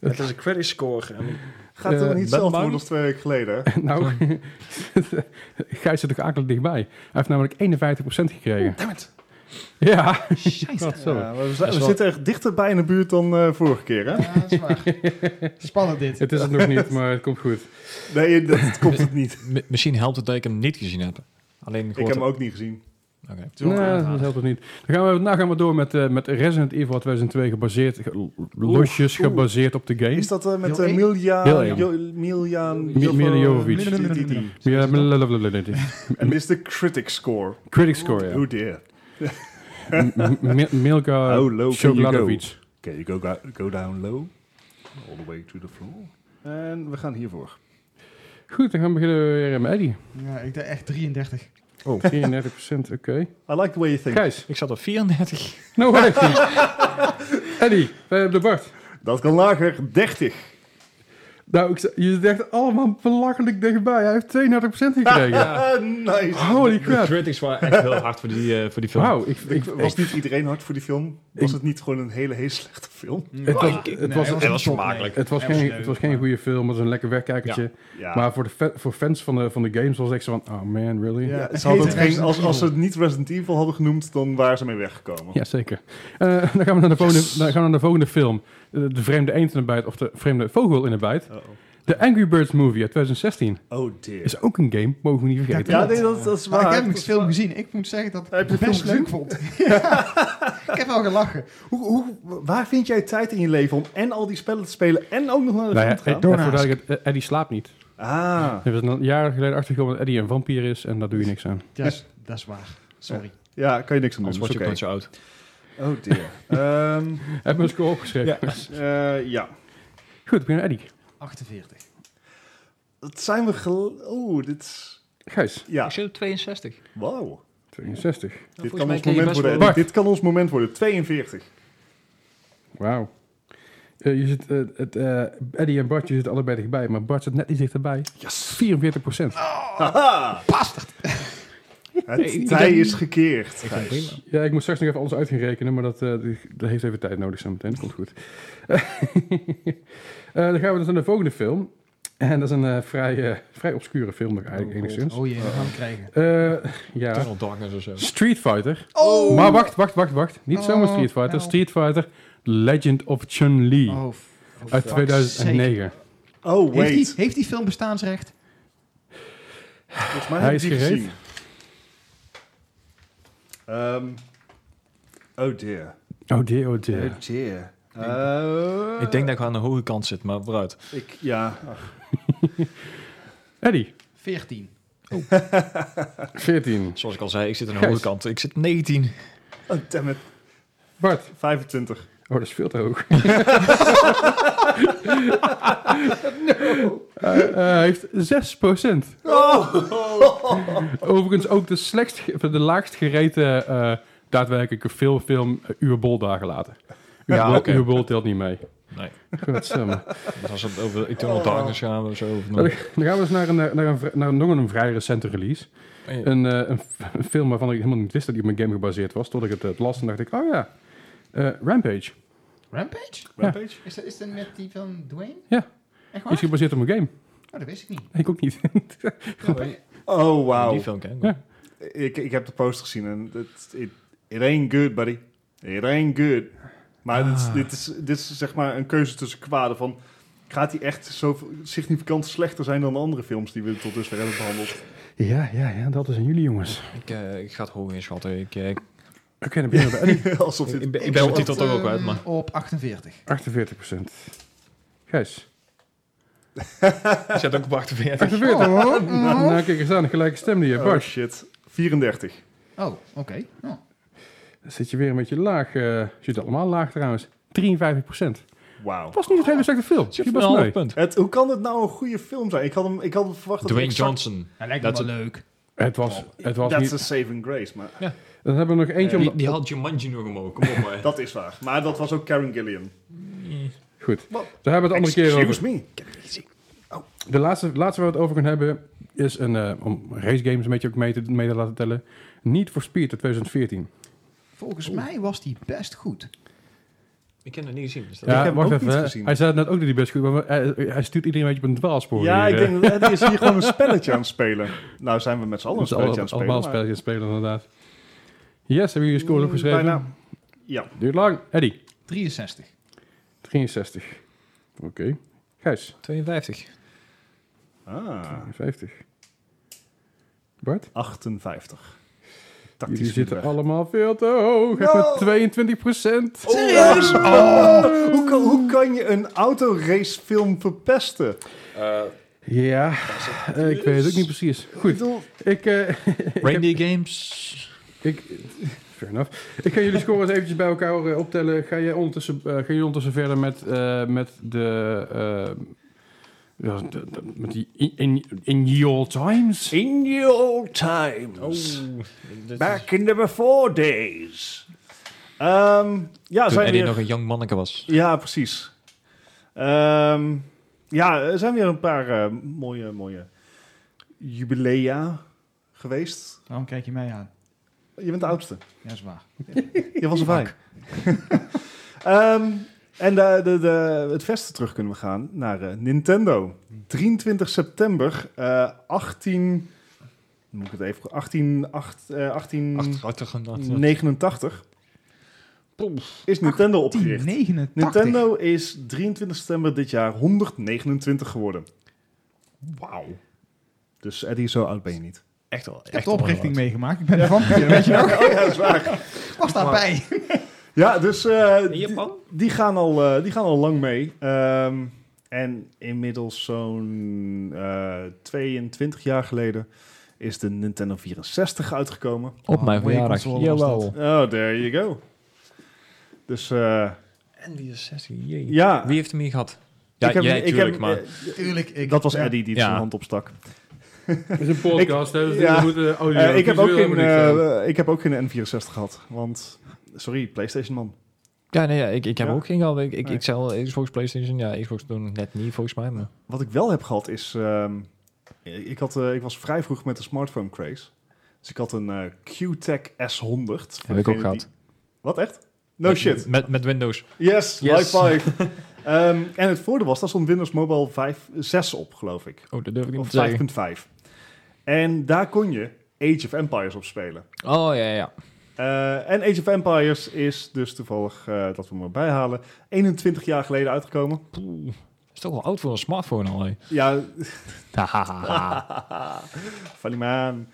Het is een credit score. En Gaat Eh, er niet hetzelfde Batman? worden als twee weken geleden? hè? nou, Gijs zit ook akelig dichtbij. Hij heeft namelijk 51% gekregen. damn it. Ja, Scheisse. wat zo. Ja, maar we zijn- is we wel- zitten echt dichterbij in de buurt dan eh, vorige keer, hè? Ja, dat is waar. Spannend dit. Het is het nog niet, maar het komt goed. Nee, dat komt het niet. Mi- misschien helpt het dat ik hem niet gezien heb. Alleen Ik heb hem ook niet gezien. Oké. Nee, Nou, dat helpt het niet. Dan gaan we, nou gaan we door met, eh, met Resident Evil 2002 gebaseerd, ge- losjes oeh. gebaseerd op de game. Is dat eh, met Heel eh, één. Milja... Heel één. Jo- Milja... Mi- Milja Jovovich. die- die- die. Ja, blablabla. En dit is de critic score. Critic score, ja. Oh dear. M- M- Milka How low can you go? Chocoladovic. Can you go, go- go down low? All the way to the floor. En we gaan hiervoor. Goed, dan gaan we beginnen weer met Eddie. Ja, ik dacht echt 33. Oh, 34%, oké. I like the way you think. Gijs, nou, Ik zat op 34. no way. Eddie, wij hebben de Bart. Dat kan lager. 30. Nou, ik, z- je zit echt allemaal belachelijk dichtbij. Hij heeft 32% gekregen. Ah, nice. Holy De crap. critics waren echt heel hard voor die, eh, voor die film. Wauw, ik, ik, Ik, was niet iedereen hard voor die film? Was het niet gewoon een hele, hele slechte film? het was, het Nee, was, hij hij niet was top, vermakelijk. nee. het was Hij geen, leuk, het was geen maar- goede film, het was een lekker wegkijkertje. Ja. Maar voor, de fa- voor fans van de, van de games was het echt zo van, oh man, really? Ja, Ja, ze hadden het heet geen, als, Resident als ze het niet Resident Evil hadden genoemd, dan waren ze mee weggekomen. zeker. Eh, dan, gaan we naar de volgende, dan gaan we naar de volgende film. Eh, De, vreemde eend in de bijt, of de vreemde vogel in de bijt. Uh-oh. De Angry Birds Movie uit 2016. Oh dear. Is ook een game, mogen we niet vergeten. Ja, nee, dat, dat is Maar waar. ik heb hem film gezien. Ik moet zeggen dat ik Heb het je de best film leuk vond. ik heb wel gelachen. Hoe, hoe, waar vind jij tijd in je leven om en al die spellen te spelen en ook nog naar de Nou ja, film eh, te gaan? even voor duidelijkheid, eh, Eddie slaapt niet. Ah, Er is een jaar geleden achtergekomen dat Eddie een vampier is en daar doe je niks aan. Dat is, dat is waar. Sorry. ja, kan je niks aan doen. Anders was is je ook oké. nooit zo oud. Oh dear. Ehm, Heb me een score opgeschreven. eh, ja. Goed, begin Eddie. 48. Dat zijn we gel... Oeh, dit is... Gijs, Ja, Ik zit op 62. wauw. 62. Dit volgens kan mij ons ken je moment best worden. wel- Eddie. Dit kan ons moment worden. 42. Wauw. Eh, je zit, eh, het, eh, Eddie en Bart, je zitten allebei dichtbij, maar Bart zit net iets dichterbij. Yes. 44 procent. Haha. ik- Het ik tij heb- is gekeerd. Ik vind Gijs. prima. Ja, ik moet straks nog even alles uit gaan rekenen, maar dat, eh, die- dat heeft even tijd nodig zometeen. Dat komt goed. Eh, dan gaan we dus naar de volgende film. En dat is een eh, vrij, eh, vrij obscure film nog eigenlijk enigszins. Oh jee, we gaan hem krijgen. Eh, ja. Tunnel Darkness of zo. Street Fighter. Oh. Maar wacht, wacht, wacht, wacht. Niet zomaar Oh, Street Fighter. help. Street Fighter Legend of Chun-Li. Oh, f- oh, uit fuck 2009. Oh, sake. Heeft wait. die, heeft die film bestaansrecht? Volgens mij Hij heb ik is die gereed. gezien. Ehm, oh dear. Oh dear, oh dear. Oh dear. Eh, Ik denk dat ik aan de hoge kant zit, maar vooruit. ik... Ja. Ach, Eddie, 14. 14. Zoals ik al zei, ik zit aan de Gijs. hoge kant. Ik zit op 19. oh, damn it. Bart. 25. Oh, dat is veel te hoog. Eh, eh, hij heeft 6%. Oh. Overigens ook de, slechtst, ge- de laagst gereten eh daadwerkelijke film, film eh, Uwe dagen later. Uwe, Ja, Bol, oké. Uwe Bol telt niet mee. Nee. Godsamme. Dus als het over Eternal Darkness gaan we zo. Of Dan gaan we eens naar, een, eh, naar, een, vri- naar nog een vrij recente release. Hey, Een, eh, een f- een film waarvan ik helemaal niet wist dat die op een game gebaseerd was. Tot ik het, eh, las en dacht ik, oh ja, eh, Rampage. Rampage? Rampage? Is dat, is dat met die van Dwayne? Ja. Echt Is waar? gebaseerd op een game. Oh, dat wist ik niet. Ik ook niet. Oh, Die wow. film ken ik. Ja. wel. Ik, ik heb de post gezien en het it, it ain't good, buddy. Ah. It ain't good. Maar dit, is, dit, is, dit is zeg maar een keuze tussen kwaden van... Gaat die echt zo significant slechter zijn dan de andere films die we tot dusver hebben behandeld? Ja, ja, ja, dat is aan jullie jongens. Ik, eh, ik ga het hoog inschatten. Ik, eh, ik, Oké, dan beginnen we bij Eddie. Alsof dit... ik ben, ik Ik ben de zat, titel toch ook ehm, uit, maar... Op 48. 48 procent. Gijs. Ik zet ook op 48. 48. Oh. Mm-hmm. Nou, kijk eens aan, een gelijke stem die je Oh hebt. shit. 34. Oh, oké. Oh. Dan zit je weer een beetje laag. eh zit allemaal laag trouwens. 53 procent. Wauw. Het was niet een hele slechte film. Zit Die voor een was half mooi. punt. Het, hoe kan dit nou een goede film zijn? Ik had hem, ik had hem verwacht dat Dwayne het exact- Johnson. Hij lijkt me me Dat- wel wel leuk. Het was, het was That's niet... a saving grace, maar Dan hebben we nog eentje Eh, om... Die, die haalt Jumanji nog omhoog. Kom op, maar. dat is waar. Maar dat was ook Karen Gillian. Goed. Wat? Daar hebben we het andere keer Excuse over. me. De laatste, laatste waar we het over gaan hebben is een... eh, om race games een beetje ook mee te, mee te laten tellen. Niet voor Speed uit 2014. Volgens mij was die best goed. Ik heb het niet gezien. Dus dat- heb Ja, hem wacht ook even. niet hè. gezien. Hij zei net ook dat hij best goed... Maar we- hij, hij stuurt iedereen een beetje op een dwaalspoor. Ja, hier, ik eh. denk dat Eddie is hier gewoon een spelletje aan het spelen. Nou zijn we met z'n allen een Dat is spelletje aan allemaal, het spelen. Dus allemaal spelletje maar- Mm, aan het spelen, inderdaad. Yes, hebben jullie je score opgeschreven? Bijna. Ja. Duurt lang. Eddie, 63. 63. Oké. Gijs, 52. Ah, 50. Bart, 58. Tactisch jullie zitten middenweg. allemaal veel te hoog. Echt met 22 procent. Serieus? Oh, Hoe, kan, hoe kan je een autoracefilm verpesten? Ja, eh, ik weet het ook niet precies. Ik Goed, bedoel, ik, eh, Reindeer Games. ik, fair enough. ik ga jullie scores eventjes bij elkaar eh, optellen. Ga, jij ondertussen, eh, gaan jullie ondertussen verder met, eh, met de... eh, ja, de- de- met die in, in, in your times? in the old Oh. times. Back in the before days. Ehm, ja, Toen zijn Eddie weer, nog een young manneke was. ja, precies. Ehm, ja, er zijn weer een paar eh, mooie, mooie jubilea geweest. Waarom kijk je mij aan? Je bent de oudste. Ja, is waar. Je was erbij. Ehm en de, de, de, het vesten terug kunnen we gaan naar eh, Nintendo. 23 september, eh 18... Moet ik het even... 18... 8, eh, Mm. 18 89 is Nintendo opgericht. 1089. Nintendo is 23 september dit jaar 129 geworden. Wauw. Dus Eddie, zo oud ben je niet. Echt wel. Ik heb de oprichting meegemaakt. Ik ben ervan. Weet je nog? Oh ja, dat is waar. Was daarbij. Ja, dus eh, In Japan? Die gaan al, eh, die gaan al lang mee. Ehm, en inmiddels zo'n eh 22 jaar geleden is de Nintendo 64 uitgekomen. Op mijn Oh, mooie verjaardag. console was dat. Jawel. Oh, there you go. Dus eh, En die is 16. Jee. ja. Wie heeft hem hier gehad? Ja, heb- jij heb- natuurlijk, maar... eh, Tuurlijk. Ik, dat was ja. Eddie die Ja. zijn hand opstak. Het is een podcast, hè, dus ja. we moeten audio. Eh, ik, heb ook visueel geen, helemaal niks aan. eh, ik heb ook geen N64 gehad. Want, sorry, PlayStation man. Ja, nee, ja, ik, ik heb Ja. ook geen gehad. Ik, ik, Nee. ik zei al Xbox, Playstation. Ja, Xbox doen het net niet, volgens mij. Maar... Wat ik wel heb gehad is... ehm, ik, had, eh, ik was vrij vroeg met de smartphone craze. Dus ik had een eh, Q-Tech S100. Heb ik ook Degene die- gehad. Wat, echt? No Met- shit. Met, met Windows. Yes, Yes. high five. Ehm, en het voordeel was, daar stond Windows Mobile 5, 6 op, geloof ik. Oh, dat durf ik niet Of te zeggen. 5.5. En daar kon je Age of Empires op spelen. Oh, ja, ja, ja. Eh, en Age of Empires is dus toevallig, eh, dat we hem erbij halen, 21 jaar geleden uitgekomen. Poeh. Is toch wel oud voor een smartphone al, hè? Ja, Hahaha. Ah. funny man.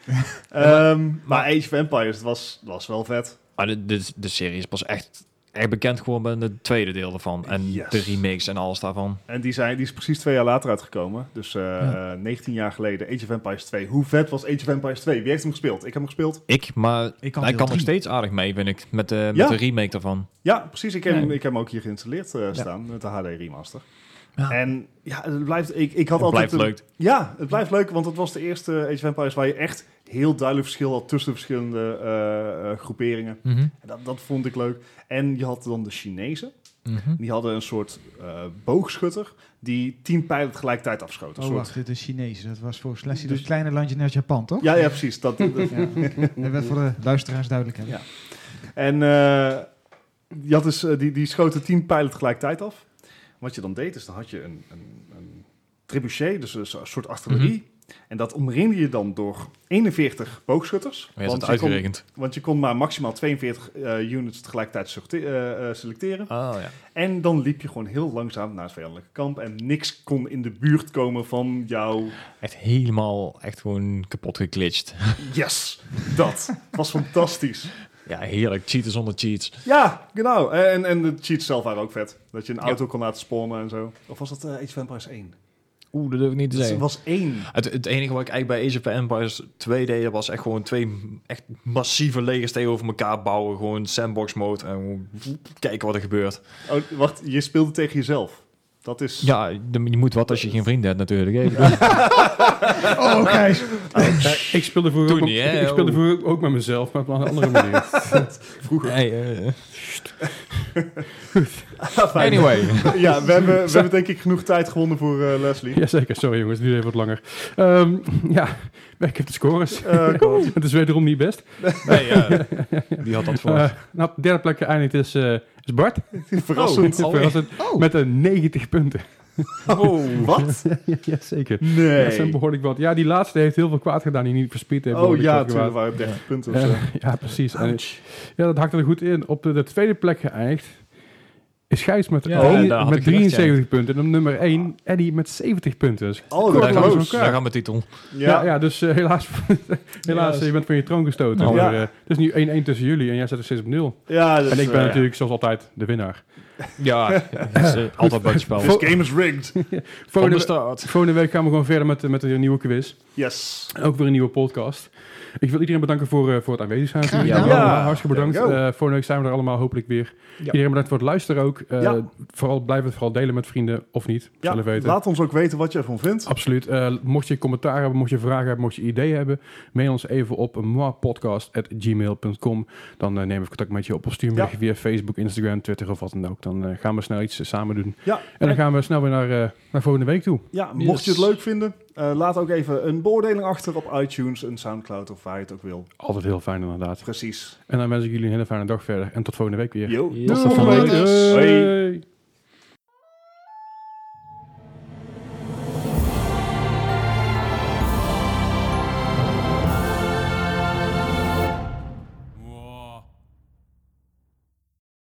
Ehm, maar Age of Empires was, was wel vet. Maar de, de, de serie is pas echt, echt bekend geworden met het tweede deel ervan. En Yes. de remakes en alles daarvan. En die, zijn, die is precies twee jaar later uitgekomen. Dus eh, 19 jaar geleden, Age of Empires 2. Hoe vet was Age of Empires 2? Wie heeft hem gespeeld? Ik heb hem gespeeld. Ik, maar Ik kan, hij deel kan nog drie. steeds aardig mee, vind ik. Met, de met Ja. de remake daarvan. Ja, precies. Ik heb, Ja. hem- ik heb hem ook hier geïnstalleerd eh, staan met de HD remaster. Ja. En ja, het blijft. Ik, ik had Het altijd blijft een- leuk. Ja, het blijft leuk, want het was de eerste Age of Empires waar je echt heel duidelijk verschil had tussen de verschillende eh, eh, groeperingen. Mhm. En Dat, dat vond ik leuk. En je had dan de Chinezen. Mhm. Die hadden een soort eh, boogschutter die tien pijlen tegelijkertijd afschoot. Een Oh, soort... wacht, dit is Chinees. Dat was voor Slessie, Dus- dat kleine landje naar Japan, toch? Ja, ja, precies. Dat, dat- Ja. Dat werd voor de luisteraars duidelijk. Hè? Ja. En eh, je had dus, eh, die, die schoten tien pijlen tegelijkertijd Mhm. af. Wat je dan deed, is dan had je een, een, een trebuchet, dus een so- soort artillerie. En dat omringde je dan door 41 boogschutters. Oh Maar je had het je kon, uitgerekend. want je kon maar maximaal 42 eh, units tegelijkertijd sorte- eh, eh, selecteren. Oh ja. En dan liep je gewoon heel langzaam naar het vijandelijke kamp. En niks kon in de buurt komen van jouw Echt helemaal, echt gewoon kapot geglitcht. yes. Dat was fantastisch. Ja, heerlijk. Cheaten zonder cheats. Ja, genau. En, en de cheats zelf waren ook vet. Dat je een auto kon laten spawnen en zo. Of was dat eh, Age of Empires 1? Oeh, dat durf ik niet te Dat zeggen. was 1. Het, het enige wat ik eigenlijk bij Age of Empires 2 deed, dat was echt gewoon twee m- echt massieve legers tegenover elkaar bouwen. Gewoon sandbox mode en gewoon kijken wat er gebeurt. Oh, wacht, je speelde tegen jezelf. Dat is... Ja, je moet wat als je geen vrienden hebt natuurlijk. Oh, Gijs. Ik speelde vroeger, Toen ook, niet, met- hè? ik speelde vroeger ook met mezelf, maar op een andere manier. Vroeger. eh. anyway. Ja, we hebben, we hebben denk ik genoeg tijd gewonnen voor eh, Leslie. Jazeker, sorry jongens, het duurde even wat langer. Ehm, ja, ik heb de scores. Eh, kom. Het is wederom niet best. Nee, ja. die had dat voor. Eh nou, op de derde plek eindigt is, eh, is Bart. Verrassend. Oh. Verrassend. Met een 90 punten. Oh, wat? Ja, Jazeker. Ja, dat zijn Nee. behoorlijk wat. Ja, die laatste heeft heel veel kwaad gedaan. Die niet verspied heeft. Oh eh, behoorlijk ja, wat kwaad. natuurlijk waren het 30 punten of zo. Eh, ja, precies. En, ja, dat hakt er goed in. Op de, de tweede plek geëindigd is Gijs met, Ja, een- daar had ik met gedacht, 73 punten. En op nummer 1 Eddie met 70 punten. Dus Oh, kort daar, langs gaan we, loos. elkaar. daar gaan we titel. Ja, Ja, ja dus eh, helaas, helaas eh, je bent van je troon gestoten. Nou, Maar, ja. Dus, eh, eh, het is nu 1-1 tussen jullie en jij staat er steeds op 0. ja dat En is ik ben waar. natuurlijk, zoals altijd, de winnaar. Ja, dat is, eh, altijd buitenspel. This game is rigged. Van de Volgende, we- start. volgende week gaan we gewoon verder met, eh, met een nieuwe quiz. Yes. Ook weer een nieuwe podcast. Ik wil iedereen bedanken voor, eh, voor het aanwezig zijn. Graag natuurlijk. gedaan. Allemaal Ja. hartstikke bedankt. There we Eh volgende week zijn we er allemaal hopelijk weer. Iedereen bedankt voor het luisteren ook. Eh, Ja. vooral, blijf het vooral delen met vrienden of niet. Ja, Zelf weten. laat ons ook weten wat je ervan vindt. Absoluut. Eh, mocht je commentaar hebben, mocht je vragen hebben, mocht je ideeën hebben, mail ons even op moapodcast.gmail.com. Dan eh, nemen we contact met je op of stuur me Ja. via Facebook, Instagram, Twitter of wat dan ook. Dan eh, gaan we snel iets eh, samen doen. Ja, En dan gaan we snel weer naar, eh, naar volgende week toe. ja mocht je het leuk vinden, eh, laat ook even een beoordeling achter op iTunes, een Soundcloud of waar je het ook wil. Altijd heel fijn inderdaad. Precies. En dan wens ik jullie een hele fijne dag verder. En tot volgende week weer. Yo. Tot de volgende week. Doei. Hoi.